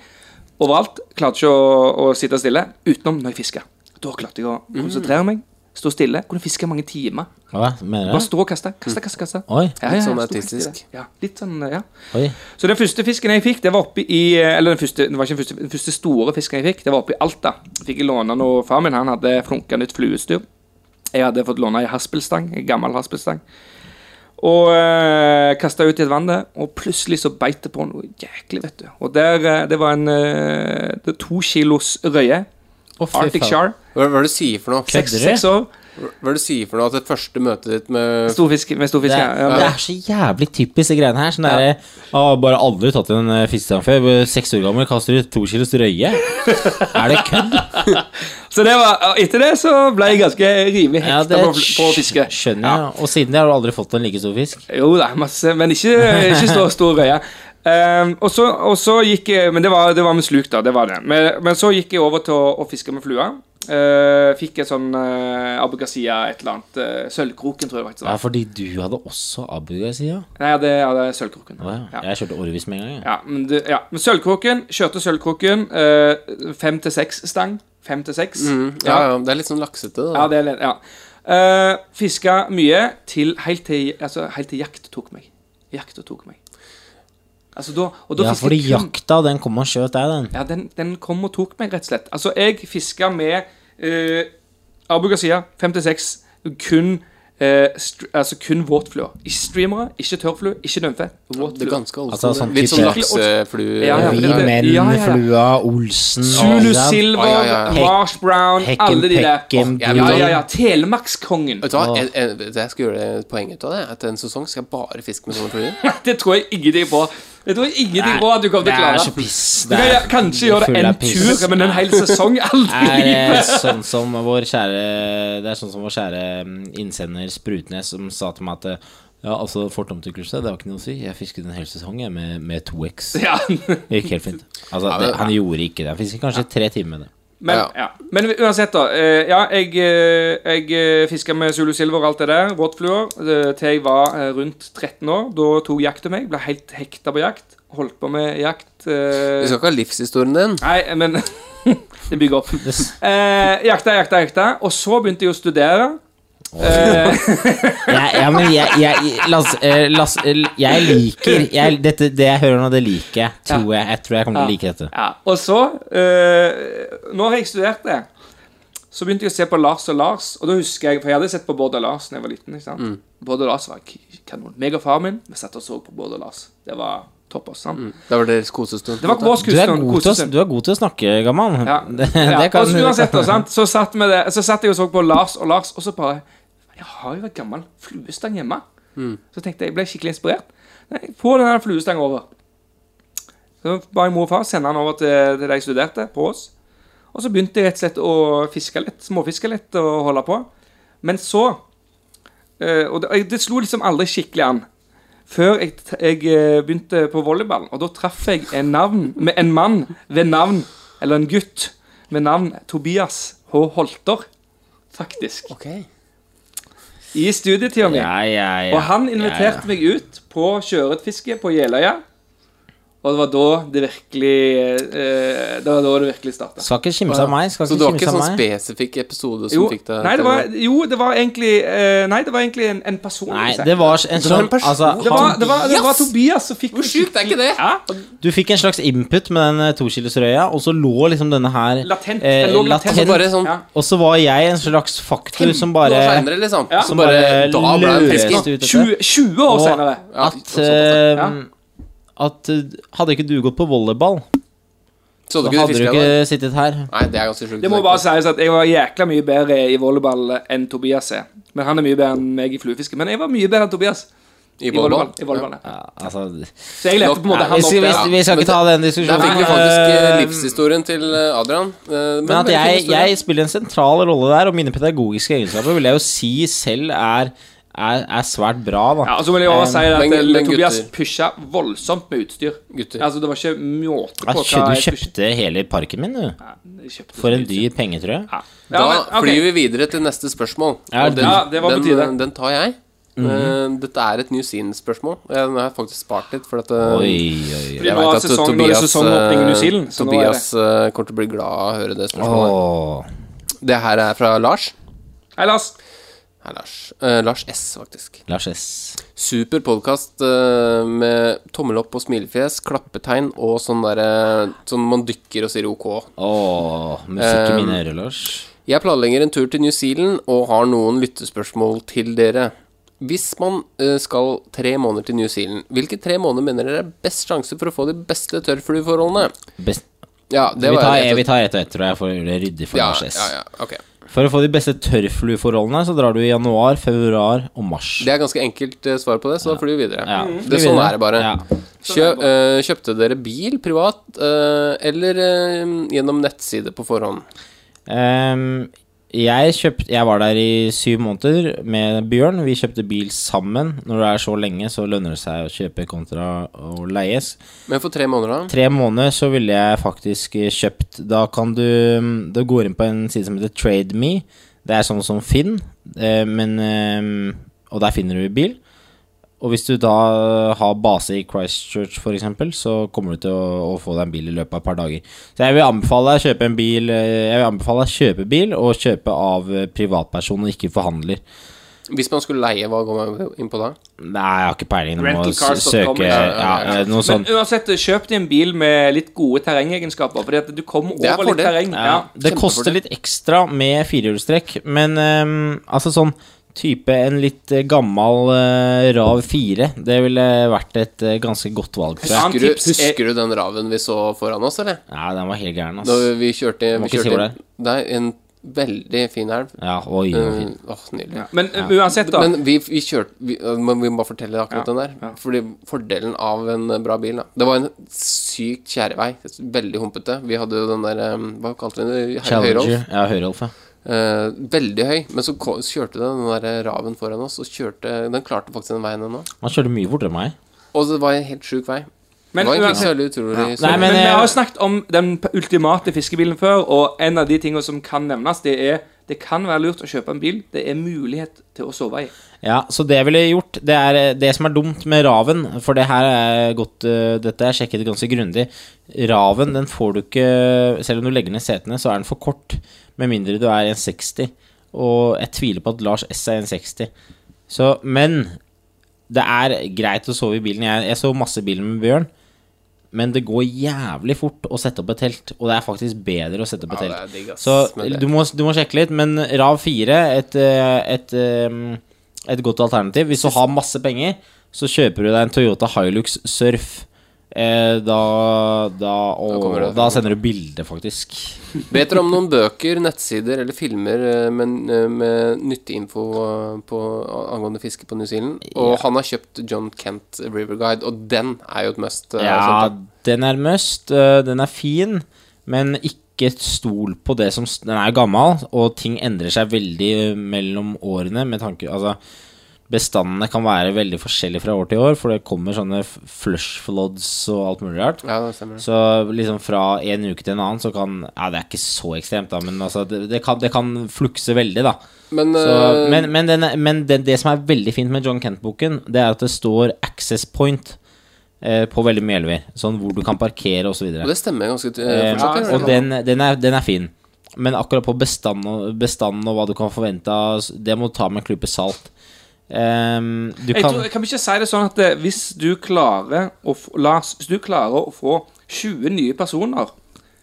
S6: Overalt. Klarte ikke å, å sitte stille utenom når jeg fiska. Da klarte jeg å konsentrere meg, stå stille. Kunne fiske mange timer.
S5: Hva mener
S6: Bare
S5: du?
S6: stå og kaste. Kaste, kaste, kaste.
S5: Oi,
S6: Ja,
S1: Litt
S6: ja,
S1: sånn
S6: ja, stor
S1: autistisk.
S6: fisk i det. Ja, litt sånn, ja.
S5: oi.
S6: Så den første fisken jeg fikk, det var oppe i Eller den første, det var ikke den første, den første store fisken jeg fikk, det var oppe i Alta. Fikk jeg låne noe Far min han hadde flunka nytt flueutstyr. Jeg hadde fått låne ei haspelstang, en gammel haspelstang. Og øh, kasta ut i et vann der, og plutselig så beit det på noe jæklig, vet du. Og der, eh, det var en øh, det er to kilos røye.
S5: Å, fy
S6: Arctic
S5: faen.
S6: Shar.
S1: Hva, hva er det du sier for noe?
S5: Kødder
S6: Seks år.
S1: Hva er det du sier for noe? At det første møtet ditt med
S6: Stor fisk, med stor fisk,
S5: Det
S6: ja.
S5: er,
S6: ja.
S5: det
S6: men-
S5: er så jævlig typisk, de greiene her. Sånn der, «Å, bare aldri tatt en eh, fiskestang før. Bare Seks år gammel kaster du to kilos røye. er det kødd?
S6: Så det var, etter det så ble jeg ganske rimelig
S5: Ja,
S6: hekta
S5: det
S6: på, på å fiske.
S5: skjønner jeg. Og siden det har du aldri fått en like stor fisk.
S6: Jo, det er masse, men ikke, ikke så stor røye. Ehm, og, så, og så gikk jeg Men det var, det var med sluk, da. det var det Men, men så gikk jeg over til å, å fiske med flua. Eh, fikk en sånn uh, abugasia et eller annet. eh, sølvkroken, tror jeg faktisk det
S5: Ja,
S6: var.
S5: fordi du hadde også abugasia.
S6: Nei, ja, det ja, det er sølvkroken.
S5: Ja.
S6: Ja.
S5: Jeg kjørte årevis med en gang. jeg.
S6: Ja, men, det, ja. men sølvkroken. Kjørte sølvkroken. eh, fem til seks stang. Fem til seks.
S1: Mm, ja, ja, det er litt sånn laksete. Da.
S6: Ja, det er litt, ja. Eh, fiska mye til helt til, altså, helt til jakt tok meg. Jakt tok meg. Altså, da, og da
S5: Ja,
S6: fisket
S5: fordi
S6: jeg kun-
S5: jakta, den kom og skjøt deg, den.
S6: Ja, den, den kom og tok meg, rett og slett. Altså, jeg fiska med uh, Abugasia 56 kun eh, str altså kun våtflua. Ikke streamere, ikke tørrflue, ikke dømfe.
S1: Det er ganske old
S5: Altså,
S1: school,
S5: sånn
S1: det. Litt sånn
S6: type-
S1: lakseflue
S6: Ja, ja, men
S5: Vi
S6: det-
S5: menn,
S6: ja, ja, ja.
S5: flua, Olsen
S6: Zulu
S5: alle dem.
S6: Silver,
S1: Ja, ja,
S5: ja.
S6: Marsh Brown,
S5: Hekken,
S6: alle de der.
S5: Pekken,
S6: ja,
S1: Brun.
S6: ja, ja. Telemarkskongen.
S1: Vet du hva, jeg, jeg, vet du, jeg skal gjøre et poeng ut av det. At en sesong skal jeg bare fiske med sånne fluer.
S6: Det tror jeg ingenting på. Jeg tror ingenting på at du kommer til å klare.
S5: Det er så piss.
S6: Du kan gjøre- kanskje gjøre det
S5: full
S6: en
S5: av piss.
S6: tur, men en hel sesong
S5: Det
S6: aldri.
S5: er eh, sånn som vår kjære Det er sånn som vår kjære mm, innsender Sprutnes som sa til meg at eh, ja, altså fortomtykkelse, det var ikke noe å si. Jeg fisket en hel sesong jeg, med, med 2X.
S6: Ja.
S5: Det gikk helt fint. Altså, det, han gjorde ikke det. Han fisket kanskje tre timer med det.
S6: Men,
S1: Ja.
S6: ja. men uansett, da. eh, Ja, jeg, eh, jeg fiska med Zulu Silver og alt det der, våtfluer, eh, til jeg var eh, rundt 13 år. Da tok jakta meg. Ble helt hekta på jakt. Holdt på med jakt. eh,
S1: Du skal ikke ha livshistorien din.
S6: Nei, men Det bygger opp. Eh, jakta, jakta, jakta. Og så begynte jeg å studere. Eh,
S5: Jeg, ja, men jeg, jeg, Lasse, eh, Lasse, eh, jeg liker jeg, dette, Det jeg hører nå, det liker jeg. Tror jeg. Jeg tror jeg kommer til å like dette.
S6: Ja, og så, eh, når jeg studerte, så begynte jeg å se på Lars og Lars. Og da husker jeg, For jeg hadde sett på Bård og Lars da jeg var liten. ikke sant?
S5: Mm.
S6: Bård og Lars var k- kanon. Meg og faren min vi satt og så på Bård og Lars. Det var topp. oss, sant?
S1: Da var det deres kosestund.
S6: Det var vår
S5: Mm. Du er,
S6: kosestund.
S5: god til å,
S6: kosestund.
S5: du er god til å snakke, gammal.
S6: Ja.
S5: Det,
S6: Ja,
S5: det kan
S6: og så uansett, da, sant? Så, satt vi det, så satt jeg og så på Lars og Lars, og så bare Jeg har jo en gammel fluestang hjemme.
S5: Mm.
S6: Så tenkte jeg, jeg ble skikkelig inspirert. Nei, Få den her fluestangen over. Så ba jeg mor og far sende den over til, til de jeg studerte, på Ås. Og så begynte jeg rett og slett å fiske litt, småfiske litt og holde på. Men så eh, Og det, jeg- det slo liksom aldri skikkelig an. Før jeg, t- jeg eh, begynte på volleyball, og da traff jeg en, navn, med en mann ved navn Eller en gutt med navn Tobias H. Holter, faktisk. I studietida mi.
S5: ja, ja, ja.
S6: Og han inviterte meg ut på sjøørretfiske på Jeløya. Og det var da det virkelig eh, Det var da det virkelig starta.
S5: Skal ikke kimse av meg. Skal
S1: Så
S5: ikke
S1: du har ikke
S5: kimse
S1: en
S5: av
S1: sånn
S5: meg.
S1: spesifikk episode som
S6: Jo,
S1: fikk deg
S6: nei, det var, jo, det var egentlig eh, Nei, det var egentlig en, en person.
S5: Nei,
S6: vil jeg si.
S5: det var en
S1: var en
S5: sånn
S1: person.
S5: altså,
S6: det, var,
S5: han,
S6: det, var, det var Tobias som fikk
S1: Hvor sjukt er ikke det?
S6: Ja,
S5: Du fikk en slags input med den eh, tokilosrøya, og så lå liksom denne her
S6: latent.
S5: eh,
S6: Den lå
S5: latent.
S6: latent.
S1: Altså bare sånn
S6: Ja.
S5: Og så var jeg en slags faktor som bare
S1: Noe senere, liksom.
S6: Ja.
S1: Så bare,
S5: Som
S1: da
S5: bare
S1: ble jeg
S5: løste
S1: fisker.
S5: ut dette.
S6: 20, 20 år
S5: Og
S6: senere.
S5: at,
S1: Ja,
S5: eh,
S6: ja.
S5: at eh, hadde ikke du gått på volleyball,
S1: Så
S5: så
S1: du ikke
S5: hadde du
S1: fiska da?
S5: ikke sittet her.
S1: Nei, det er ganske sjukt.
S6: Det må bare sies at jeg var jækla mye bedre i volleyball enn Tobias er. Men han er mye bedre enn meg i fluefiske. Men jeg var mye bedre enn Tobias
S1: I
S6: i volleyball. I
S1: volleyball.
S6: volleyball. ja.
S5: Ja, altså,
S6: Så jeg lærte på en måte
S1: Nei,
S5: vi,
S6: han opp
S5: skal- vi,
S6: der.
S1: ja.
S5: vi skal
S1: Men
S5: ikke ta den diskusjonen.
S1: Der fikk vi faktisk eh,
S5: Eh,
S1: livshistorien til eh, Adrian. eh,
S5: Men at
S1: det er
S5: jeg,
S1: fin historie.
S5: jeg spiller en sentral rolle der, og mine pedagogiske egenskaper vil jeg jo si selv er, er, er svært bra, da.
S6: Ja, altså, og så vil jeg også si at
S1: men-
S6: eh,
S1: men
S6: Tobias
S1: gutter-
S6: pusha voldsomt med utstyr.
S1: Gutter.
S6: Altså, det var ikke måte på
S5: Jeg
S6: hva
S5: skjønner, du
S6: jeg pusha.
S5: kjøpte hele parken min, du.
S6: Ja, jeg kjøpte
S5: For en
S6: mye utstyr.
S5: dyr penge, tror jeg.
S6: Ja.
S1: Da
S6: Ja, men, ok.
S1: flyr vi videre til neste spørsmål.
S5: Ja, Mhm.
S1: Og den,
S6: ja, det var på
S1: den,
S6: tide.
S1: eh, den tar jeg. Eh, Dette er et New Zealand-spørsmål. og Jeg den har jeg faktisk spart litt. For at, eh,
S5: Oi, oi, oi.
S1: jeg vet
S6: Nå er
S1: at eh,
S6: sesong- nå er det
S1: Tobias,
S6: sesongåpning i
S1: eh,
S6: New Zealand, så nå er
S1: Tobias eh, kommer til å bli glad av å høre det spørsmålet.
S5: Åh.
S1: Det her er fra Lars.
S6: Hei, Lars.
S1: Hei, Lars. Eh, Lars S, faktisk.
S5: Lars S.
S1: Super podkast med tommel opp og smilefjes, klappetegn og sånn derre Sånn man dykker og sier ok.
S5: Åh, musikk i mine ører, Lars.
S1: Jeg planlegger en tur til New Zealand og har noen lyttespørsmål til dere. Hvis man eh, skal tre måneder til New Zealand, hvilke tre måneder mener dere er best sjanse for å få de beste tørrflueforholdene?
S5: Best.
S1: Ja, det
S5: Vi
S1: var
S5: tar,
S1: rett og-
S5: vi tar ett og ett, tror jeg, for å gjøre det ryddig for
S1: ja,
S5: Lars S.
S1: ja, ja, ok.
S5: For å få de beste tørrflueforholdene, så drar du i januar, februar og mars.
S1: Det er ganske enkelt eh, svar på det, så da flyr vi videre.
S5: Ja.
S1: Det, sånn er det bare.
S5: Ja.
S1: Kjø, eh, kjøpte dere bil privat eh, eller eh, gjennom nettside på forhånd?
S5: Ehm, jeg, kjøpt, jeg var der i syv måneder med Bjørn. Vi kjøpte bil sammen. Når det er så lenge, så lønner det seg å kjøpe kontra å leies.
S1: Men for tre måneder, da?
S5: Tre måneder så ville jeg faktisk eh, kjøpt Da kan du Du går inn på en side som heter TradeMe. Det er sånn som Finn, eh, men eh, Og der finner du bil. Og hvis du da har base i Christchurch f.eks., så kommer du til å, å få deg en bil i løpet av et par dager. Så jeg vil anbefale deg å kjøpe en bil eh, Jeg vil anbefale deg å kjøpe bil, og kjøpe av eh, privatperson og ikke forhandler.
S1: Hvis man skulle leie, hva går man inn på da?
S5: Nei, jeg har ikke peiling. Du må s-
S6: Rentalcars.com,
S5: søke ja,
S6: ja,
S1: ja, ja.
S5: eh, noe
S6: Men
S5: sånt.
S6: uansett, kjøp deg en bil med litt gode terrengegenskaper, fordi at du kommer
S1: Det er
S6: over litt
S1: fordel.
S6: terreng.
S5: Ja,
S6: Ja.
S5: det
S1: kjempefordel.
S5: koster litt ekstra med firehjulstrekk, men ehm, altså sånn type en litt eh, gammel eh, Rav 4, det ville vært et eh, ganske godt valg, tror jeg.
S6: Annet
S1: Husker du,
S6: tips er-
S1: husker du den raven vi så foran oss, eller?
S5: Nei, den var helt gæren,
S1: Da
S5: ass.
S1: vi kjørte,
S5: Må
S1: vi
S5: ikke si hvor
S1: kjørte
S5: det
S1: Nei, en veldig fin elv.
S5: Ja, oi, den var fin.
S1: Eh, åh, nydelig.
S6: Men eh, uansett, da.
S1: Men vi, vi kjørte vi, eh, men vi må bare fortelle akkurat
S6: Ja,
S1: den der. Fordi fordelen av en eh, bra bil da. Det var en sykt kjærevei. Veldig humpete. Vi hadde jo den der eh, Hva kalte vi den? Høy- Høyrolf.
S5: Challenger. Ja, Høyrolf, ja.
S1: Eh, veldig høy. Men så, ko- så kjørte den, den der eh, raven foran oss, og kjørte Den klarte faktisk den veien ennå.
S5: Han kjørte mye fortere enn meg.
S1: Og det var en helt sjuk vei.
S6: Men
S1: det var egentlig
S6: uansett-
S1: så veldig utrolig så-
S5: Nei,
S6: Men,
S5: men,
S6: vi
S5: eh,
S6: har jo snakket om den p- ultimate fiskebilen før, og en av de tingene som kan nevnes, det er det kan være lurt å kjøpe en bil det er mulighet til å sove i.
S5: Ja, så det jeg ville gjort Det er eh, det som er dumt med raven For det her er godt eh, Dette er sjekket ganske grundig Raven, den får du ikke Selv om du legger ned setene, så er den for kort Med mindre du er 1,60 Og jeg tviler på at Lars S er 1,60 Så, men Det er greit å sove i bilen Jeg, jeg så masse biler med Bjørn men det går jævlig fort å sette opp et telt Og det er faktisk bedre å sette opp
S1: Ja,
S5: et telt
S1: det er digg, ass,
S5: Så
S1: men det-
S5: du må, du må sjekke litt Men RAV 4 et, eh, et, eh, et godt alternativ Hvis du har masse penger Så kjøper du deg en Toyota Hilux Surf Eh, da, da, og,
S1: kommer
S5: da,
S1: det.
S5: sender du bilde faktisk
S1: Vet dere om noen bøker, nettsider eller filmer eh, med, med nyttig info eh, på, angående fiske på New Zealand? Og han har kjøpt John Kent River Guide, og den er jo et must. eh,
S5: Ja,
S1: sånt.
S5: den er must eh, Den er fin Men ikke stol på det som s- Den er gammel Og ting endrer seg veldig mellom årene Med tanke, altså Bestandene kan være veldig forskjellige fra år til år For det kommer sånne f- flush floods Og alt mulig rart
S1: ja det stemmer. det.
S5: Så liksom fra en uke til en annen så kan Ja, det er ikke så ekstremt, da, men altså, det, det, kan, det kan flukse veldig, da.
S1: Men,
S5: Så,
S1: eh,
S5: men men, den, men det, det som er veldig fint med John Kent-boken, det er at det står 'access point' eh, på veldig mye elver. Sånn hvor du kan parkere osv.
S1: og det stemmer ganske til,
S5: Eh,
S1: fortsatt. gjør det
S5: og den, den, er, den er fin. Men akkurat på bestanden og, bestanden og hva du kan forvente, av s- det må du ta med en klype salt. Ehm, du
S6: Jeg
S5: kan
S6: tror, kan vi ikke si det sånn at eh, hvis du klarer å få, Lars, hvis du klarer å få 20 nye personer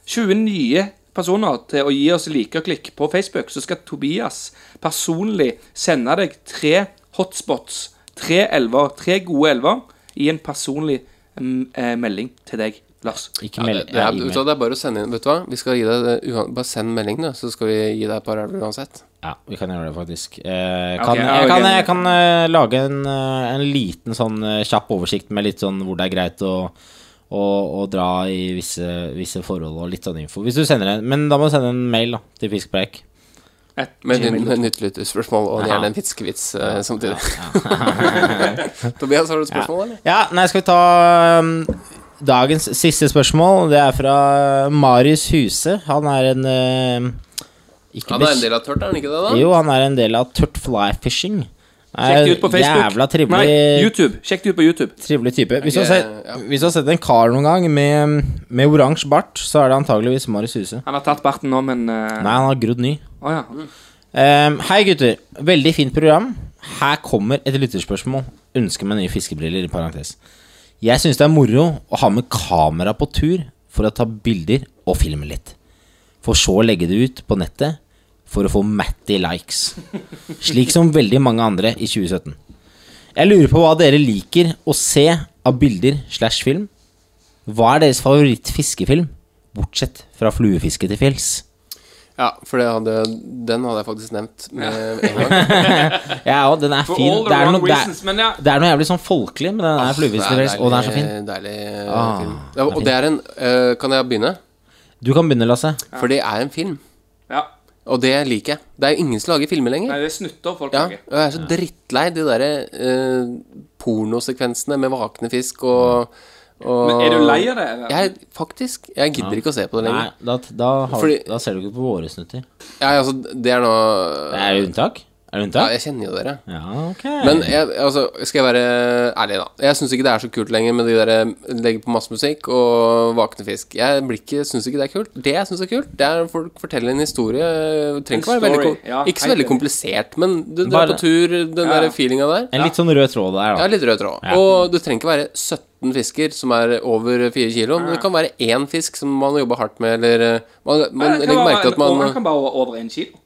S6: 20 nye personer til å gi oss likeklikk på Facebook, så skal Tobias personlig sende deg tre hotspots, tre elver, tre gode elver, i en personlig mm, eh, melding til deg, Lars.
S1: Ja,
S5: ikke
S1: det,
S5: meld-
S1: det, er,
S5: ja,
S1: vet du, hva, det er bare å sende inn Vet du hva, vi skal gi deg det, uan- bare send melding, du, så skal vi gi deg et par elver uansett.
S5: Ja, vi kan gjøre det, faktisk. Eh,
S6: Ok,
S5: kan,
S6: ja,
S5: jeg,
S6: ok.
S5: kan, jeg kan eh, lage en, eh, en liten sånn eh, kjapp oversikt med litt sånn hvor det er greit å, å, å dra i visse, visse forhold og litt sånn info. Hvis du sender en Men da må du sende en mail da, til Fiskepreik.
S6: Et
S1: Med
S6: gmail.
S1: nytt nytt lyttespørsmål og gjerne en fiskevits eh, samtidig. Tobias, har du et spørsmål, eller?
S5: Ja, nei, skal vi ta um, dagens siste spørsmål? Det er fra eh, Marius Huse. Han er en eh, ikke
S1: Han er
S5: bekj-
S1: en del av tørt, er han ikke det, da?
S5: Jo, han er en del av Tørt Fly Fishing. Eh,
S6: Sjekk det ut på Facebook.
S5: Jævla trivelig
S6: Nei, YouTube. Sjekk det ut på YouTube.
S5: Trivelig type. Hvis du har
S1: Jeg,
S5: sett,
S1: ja.
S5: hvis du har sett en kar noen gang med, med oransje bart, så er det antageligvis Marius Huse.
S6: Han har tatt barten nå, men eh,
S5: Nei, han har grodd ny.
S6: Å ja.
S1: Mm,
S5: Ehm, hei, gutter. Veldig fint program. Her kommer et lytterspørsmål. Ønsker meg nye fiskebriller. i parentes. Jeg syns det er moro å ha med kamera på tur for å ta bilder og filme litt. For så å legge det ut på nettet for å få matty likes. Slik som veldig mange andre i 2017. Jeg lurer på hva dere liker å se av bilder slash film. Hva er deres favoritt fiskefilm, bortsett fra fluefiske til fjells?
S1: Ja, for det hadde, den hadde jeg faktisk nevnt med en gang.
S5: Ja, og den er
S6: For
S5: fin.
S6: all the
S5: Det er,
S6: wrong
S5: noe, det,
S6: reasons, men ja.
S5: er, det er noe jævlig sånn folkelig med den der fluevisken deres, og den er så fin.
S1: Deilig, deilig
S5: Ah,
S1: film. Ja, og det er en eh, Kan jeg begynne?
S5: Du kan begynne, Lasse.
S1: For det er en film.
S6: Ja.
S1: Og det liker jeg. Det er jo ingen som lager filmer
S6: Nei,
S1: lenger.
S6: det er snutter folk
S1: Ja, og
S6: lager.
S1: jeg er så drittlei de derre eh, pornosekvensene med vakne fisk og, og
S6: Men er du lei av det? Eller?
S1: Jeg, faktisk. Jeg gidder ikke å se på det
S5: Nei,
S1: lenger.
S5: da, da, har,
S1: Fordi-
S5: da ser du ikke på våre snutter.
S1: Ja, altså, det er nå
S5: Det er det unntak? Er det
S1: Ja,
S5: unntak?
S1: jeg kjenner jo dere.
S5: Ja, ok.
S1: Men jeg, altså, skal jeg være ærlig, da. Jeg syns ikke det er så kult lenger med de der legge på masse musikk og vakne fisk. Jeg blir ikke, syns ikke det er kult. Det jeg syns er kult, det er når folk forteller en historie. Det Trenger ikke
S6: En
S1: være veldig
S6: story,
S1: kom-
S6: ja,
S1: Ikke så
S6: helt
S1: veldig
S6: enig.
S1: komplisert, men du
S5: Bare-
S1: drar på tur, den
S6: Ja, ja.
S1: der feelinga der.
S5: en litt sånn rød tråd der,
S1: Ja,
S5: da.
S1: litt rød tråd.
S5: Ja.
S1: Og du trenger ikke være 17 fisker som er over 4 kilo. Men det kan være én fisk som man jobber hardt med, eller eh, Man,
S6: Nei,
S1: man
S6: det kan
S1: legger
S6: bare
S1: merke til at
S6: være-
S1: man
S6: og han kan bare over- over en kilo.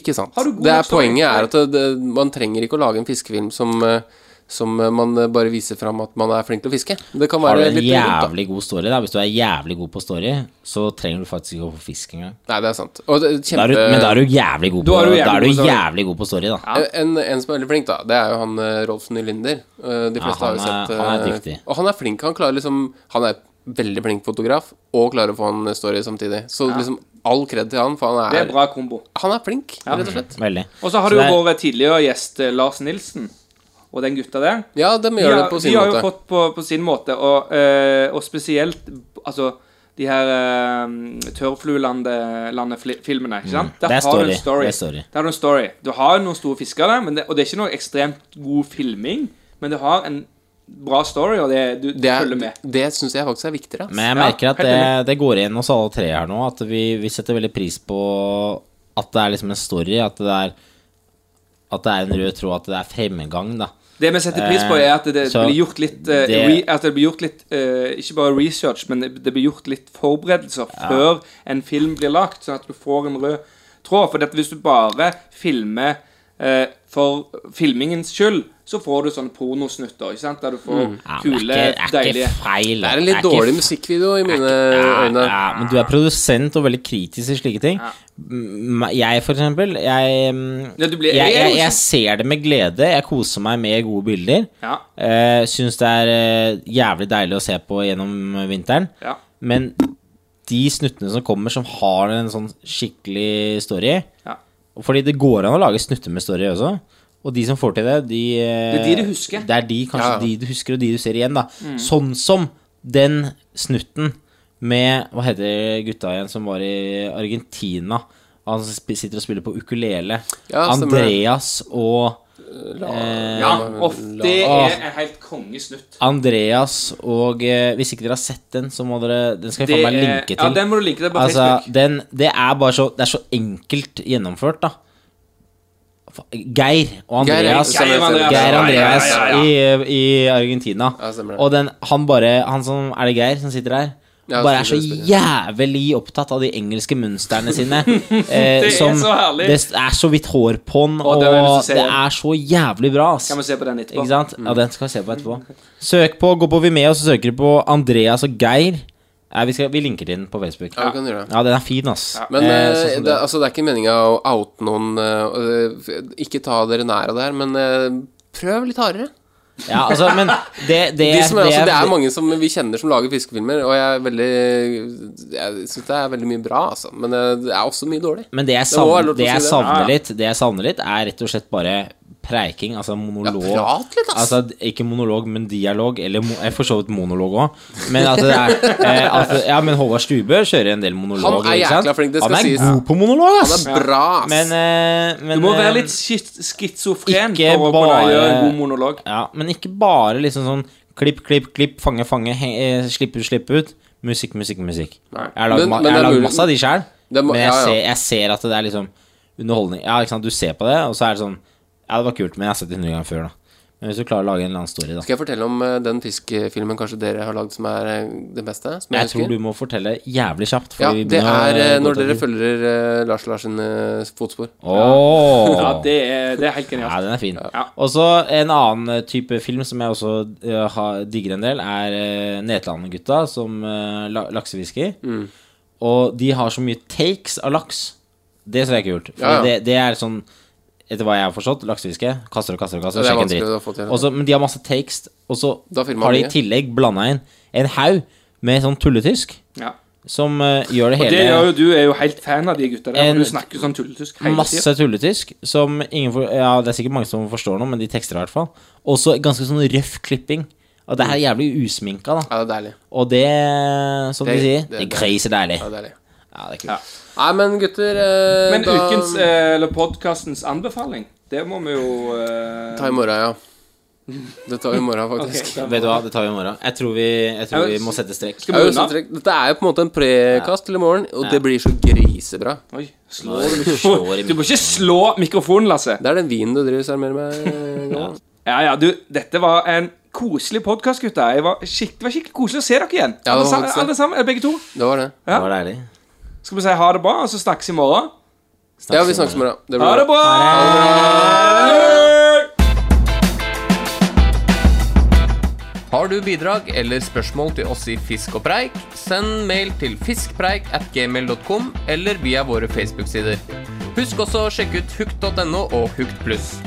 S1: Ikke sant.
S6: Har du god
S1: Det er
S6: nok story?
S1: poenget er at det, det, man trenger ikke å lage en fiskefilm som, eh, som eh, man eh, bare viser fram at man er flink til å fiske. Det kan
S5: Har du
S1: være
S5: en
S1: litt rundt, da.
S5: jævlig god story, da hvis du er jævlig god på story, så trenger du faktisk ikke gå på fisk engang.
S1: Nei, det er sant. Og det,
S5: Da
S1: kjempe,
S5: er du, men da er du jævlig god på,
S6: Da er du jævlig
S5: da er
S6: god på
S5: du
S6: story.
S5: jævlig god på story, da.
S1: Eh, en, en som er veldig flink, da, det er jo han eh, Rolf Nylinder. Eh, De fleste
S5: han
S1: har jo
S5: er-
S1: sett eh,
S5: han er dyktig.
S1: Og han er flink. Han klarer liksom Han er veldig flink fotograf, og klarer å få en story samtidig. Så liksom all kred til han, for han
S6: Det
S1: er,
S6: er bra kombo.
S1: Han er flink, rett og slett.
S5: Veldig.
S6: Og så har
S5: Så
S6: du
S5: det
S6: jo
S5: er-
S6: vår tidligere gjest eh, Lars Nilsen og den gutta der.
S1: Ja, de
S6: De
S1: gjør
S6: har,
S1: det på sin
S6: de har jo
S1: måte.
S6: fått på, på sin måte, og, eh, og spesielt altså de her uh, tørrfluelandet-filmene. ikke sant? Der
S5: Mm. Det er
S6: har du
S5: story.
S6: en story.
S5: Det er story.
S6: Der har du en story. Du har noen store fisker der, men det, og det er ikke noe ekstremt god filming, men det har en bra story, og det, du
S1: Det, er-
S6: følger med.
S1: det syns jeg faktisk er viktigere. ass.
S5: Men jeg
S6: Ja,
S5: merker at
S6: helt
S5: det, det går igjen hos alle tre her nå, at vi, vi setter veldig pris på at det er liksom en story, at det er At det er en rød tråd, at det er fremgang, da.
S6: Det vi setter pris på,
S5: Eh,
S6: er at det,
S5: så
S6: blir gjort litt eh,
S5: det-
S6: re, At det blir gjort litt eh, Ikke bare research, men det det blir gjort litt forberedelser før en film blir lagt, sånn at du får en rød tråd. For dette, hvis du bare filmer eh, for filmingens skyld, så får du sånne pornosnutter, ikke sant? Der du får
S5: Mm. Ja, men
S6: kule,
S5: det er ikke, det er
S6: deilige
S5: ikke feil. da.
S1: Det er en
S5: Det
S1: litt
S5: er ikke
S1: dårlig musikkvideo i mine
S5: Ja,
S1: øyne.
S5: ja, men du er produsent og veldig kritisk til slike ting. M- Jeg, for eksempel, jeg, mm,
S6: Ja, du blir-
S5: jeg, jeg,
S6: jeg- sånn.
S5: jeg ser det med glede. Jeg koser meg med gode bilder.
S6: Ja.
S5: Eh, syns det er eh, jævlig deilig å se på gjennom vinteren.
S6: Ja.
S5: Men de snuttene som kommer, som har en sånn skikkelig story
S6: Ja.
S5: Fordi det går an å lage snutter med story også. Og de som får til det, de eh,
S6: Det er de du husker. Mm.
S5: Det er de, kanskje
S1: Ja, ja.
S5: de du husker, og de du ser igjen, da. Sånn som den snutten med Hva heter gutta igjen som var i Argentina? Han sp- sitter og spiller på ukulele.
S1: Ja, stemmer det.
S5: Andreas og eh,
S6: Ja, og det
S5: Åh.
S6: er en helt kongesnutt.
S5: Andreas og eh, Hvis ikke dere har sett den, så må dere Den skal vi
S6: Det
S5: faen meg
S6: er-
S5: linke til.
S6: ja, den må du linke til på
S5: altså,
S6: Facebook.
S5: den, det er bare så Det er så enkelt gjennomført, da. Fa- Geir og
S1: Geir er-
S5: Andreas.
S1: Geir og Andreas.
S5: Geir og
S6: Ja, ja,
S5: Andreas
S6: ja,
S5: I, i Argentina.
S1: Ja, stemmer det.
S5: og den, han bare Han som Er det Geir som sitter der?
S1: Ja,
S5: bare er så
S1: spiller- spiller.
S5: jævlig opptatt av de engelske mønstrene sine. eh,
S6: Det er så herlig.
S5: Det er så vidt hår på den,
S6: Å,
S5: og
S6: det har jeg lyst til å se
S5: det
S6: igjen.
S5: er så jævlig bra. Ass.
S6: Kan vi se på Mm. den etterpå?
S5: Ikke sant? Ja, den skal vi se på etterpå. Søk på, Gå på Vimeo, så søker du på Andreas og Geir. Nei, vi, skal, vi linker til den på Facebook.
S1: Ja, vi kan gjøre det.
S5: Ja, den er fin, ass.
S1: Men
S5: Eh,
S1: eh,
S5: sånn som
S1: det,
S5: det.
S1: altså, det er ikke meninga å oute noen eh, eh, Ikke ta dere nær av det her, men eh, prøv litt hardere.
S5: Ja, altså, men det, det,
S1: De som, er- altså, det er
S5: det-
S1: mange som vi kjenner som lager fiskefilmer, og jeg er veldig Jeg syns det er veldig mye bra, altså. Men eh, det er også mye dårlig.
S5: Men det jeg
S1: må være
S5: savner,
S1: lov til
S5: det
S1: å
S5: jeg
S1: si det.
S5: savner
S6: Ja, ja.
S5: litt, det jeg savner litt, er rett og slett bare preiking, altså monolog.
S1: Ja, prat litt, ass.
S5: Altså, ikke monolog, men dialog, eller mo- eh, for så vidt monolog òg. Men at det er eh, at, Ja, men Håvard Stubø kjører en del monolog.
S1: Han er jækla flink, det skal
S5: Han er
S1: sies.
S5: god på monolog,
S1: Det
S5: ass.
S1: er bra, ass.
S5: Men, eh, men
S6: Du må være
S5: eh,
S6: litt schizofren
S5: Ikke
S6: for å kunne
S5: bare-
S6: gjøre en god monolog.
S5: Ja, men ikke bare liksom sånn klipp, klipp, klipp, fange, fange, he, eh, slipp ut, slipp ut. Musikk, musikk, musikk. Jeg har lagd
S1: Men-
S5: ma
S1: men det
S5: jeg har
S1: er
S5: lagd
S1: mulig-
S5: masse av de sjøl,
S1: Det må-
S5: men jeg,
S1: ja, ja.
S5: Ser, jeg ser at det er liksom underholdning. Ja, ikke sant, du ser på det, og så er det sånn Ja, det var kult, men jeg har sett det 100 ganger før, da. Men hvis du klarer å lage en eller annen story, da.
S1: Skal jeg fortelle om eh, den fiskefilmen kanskje dere har lagd som er eh, det beste? Som
S5: Jeg
S1: husker?
S5: tror du må fortelle jævlig kjapt.
S1: Ja, det er eh, når dere følger
S5: følger
S1: eh, Lars Larsen eh, fotspor.
S6: Ja, det er, det er helt genialt.
S5: Ja, den er fin.
S6: Ja.
S5: Og så en annen eh, type film som jeg også eh,
S1: Mm.
S5: har- digger en del, er uh, Netland-gutta som uh, eh, laksefisker. Og de har så mye takes av laks. Det syns jeg er kult. For
S1: Ja, ja.
S5: Det, det er sånn Etter hva jeg har forstått, laksefiske kaster og kaster og kaster.
S1: Ja, det er
S5: sjekker en
S1: vanskelig å
S5: dritt.
S1: få til.
S5: Også, men de har masse takes, og så
S1: Da filmer
S5: har de
S1: mye.
S5: i tillegg blanda inn en haug med sånn tulletysk
S6: Ja.
S5: som eh, gjør det
S6: Og
S5: hele
S6: det gjør jo du er jo helt fan av de gutta der.
S5: En-
S6: for du snakker jo sånn tulletysk hele tiden.
S5: Masse tulletysk som ingen for, Ja, det er sikkert mange som forstår noe, men de tekster i hvert fall. Også ganske sånn røff klipping. Og det her er jævlig usminka, da.
S1: Ja, det er deilig.
S5: Og det, som
S1: Det-
S5: de sier,
S1: det-
S5: det er crazy deilig.
S1: Ja, det er deilig.
S5: Ja, det er kult.
S6: Ja.
S1: Nei, men gutter eh,
S6: Men
S1: da,
S6: ukens, eh, eller podkastens anbefaling, det må vi jo eh,
S1: Ta i morgen, ja. Det tar vi i morgen,
S6: ok,
S1: faktisk.
S6: da-
S5: Vet du hva, det tar vi i morgen. Jeg tror vi, jeg tror vi må sette strek.
S6: Skal
S1: Det er
S6: vi
S1: jo sånn
S6: unna?
S1: trekk- Dette er jo på en måte en prekast til i morgen, og det blir så grisebra.
S6: Oi, slå
S5: Nå
S6: du
S5: slår i
S6: Du må ikke slå mikrofonen, Lasse.
S1: Det er den vinen du driver og serverer med. eh, nå.
S6: Ja, ja, du, dette var en koselig podkast, gutter. Jeg var skikk, det var skikkelig koselig å se dere igjen.
S1: Ja, det var
S6: alle, sam-
S1: faktisk det.
S6: alle sammen, eh, begge to.
S1: Det var det.
S5: Det var deilig.
S6: Skal vi si ha det bra, og så snakkes i morgen?
S1: Ja, vi snakkes i morgen. Det blir
S6: Ha
S1: bra.
S6: det bra!
S7: Har du bidrag eller spørsmål til oss i Fisk og preik, send mail til fiskpreik at gmail.com eller via våre Facebook-sider. Husk også å sjekke ut hukt.no og Hukt pluss.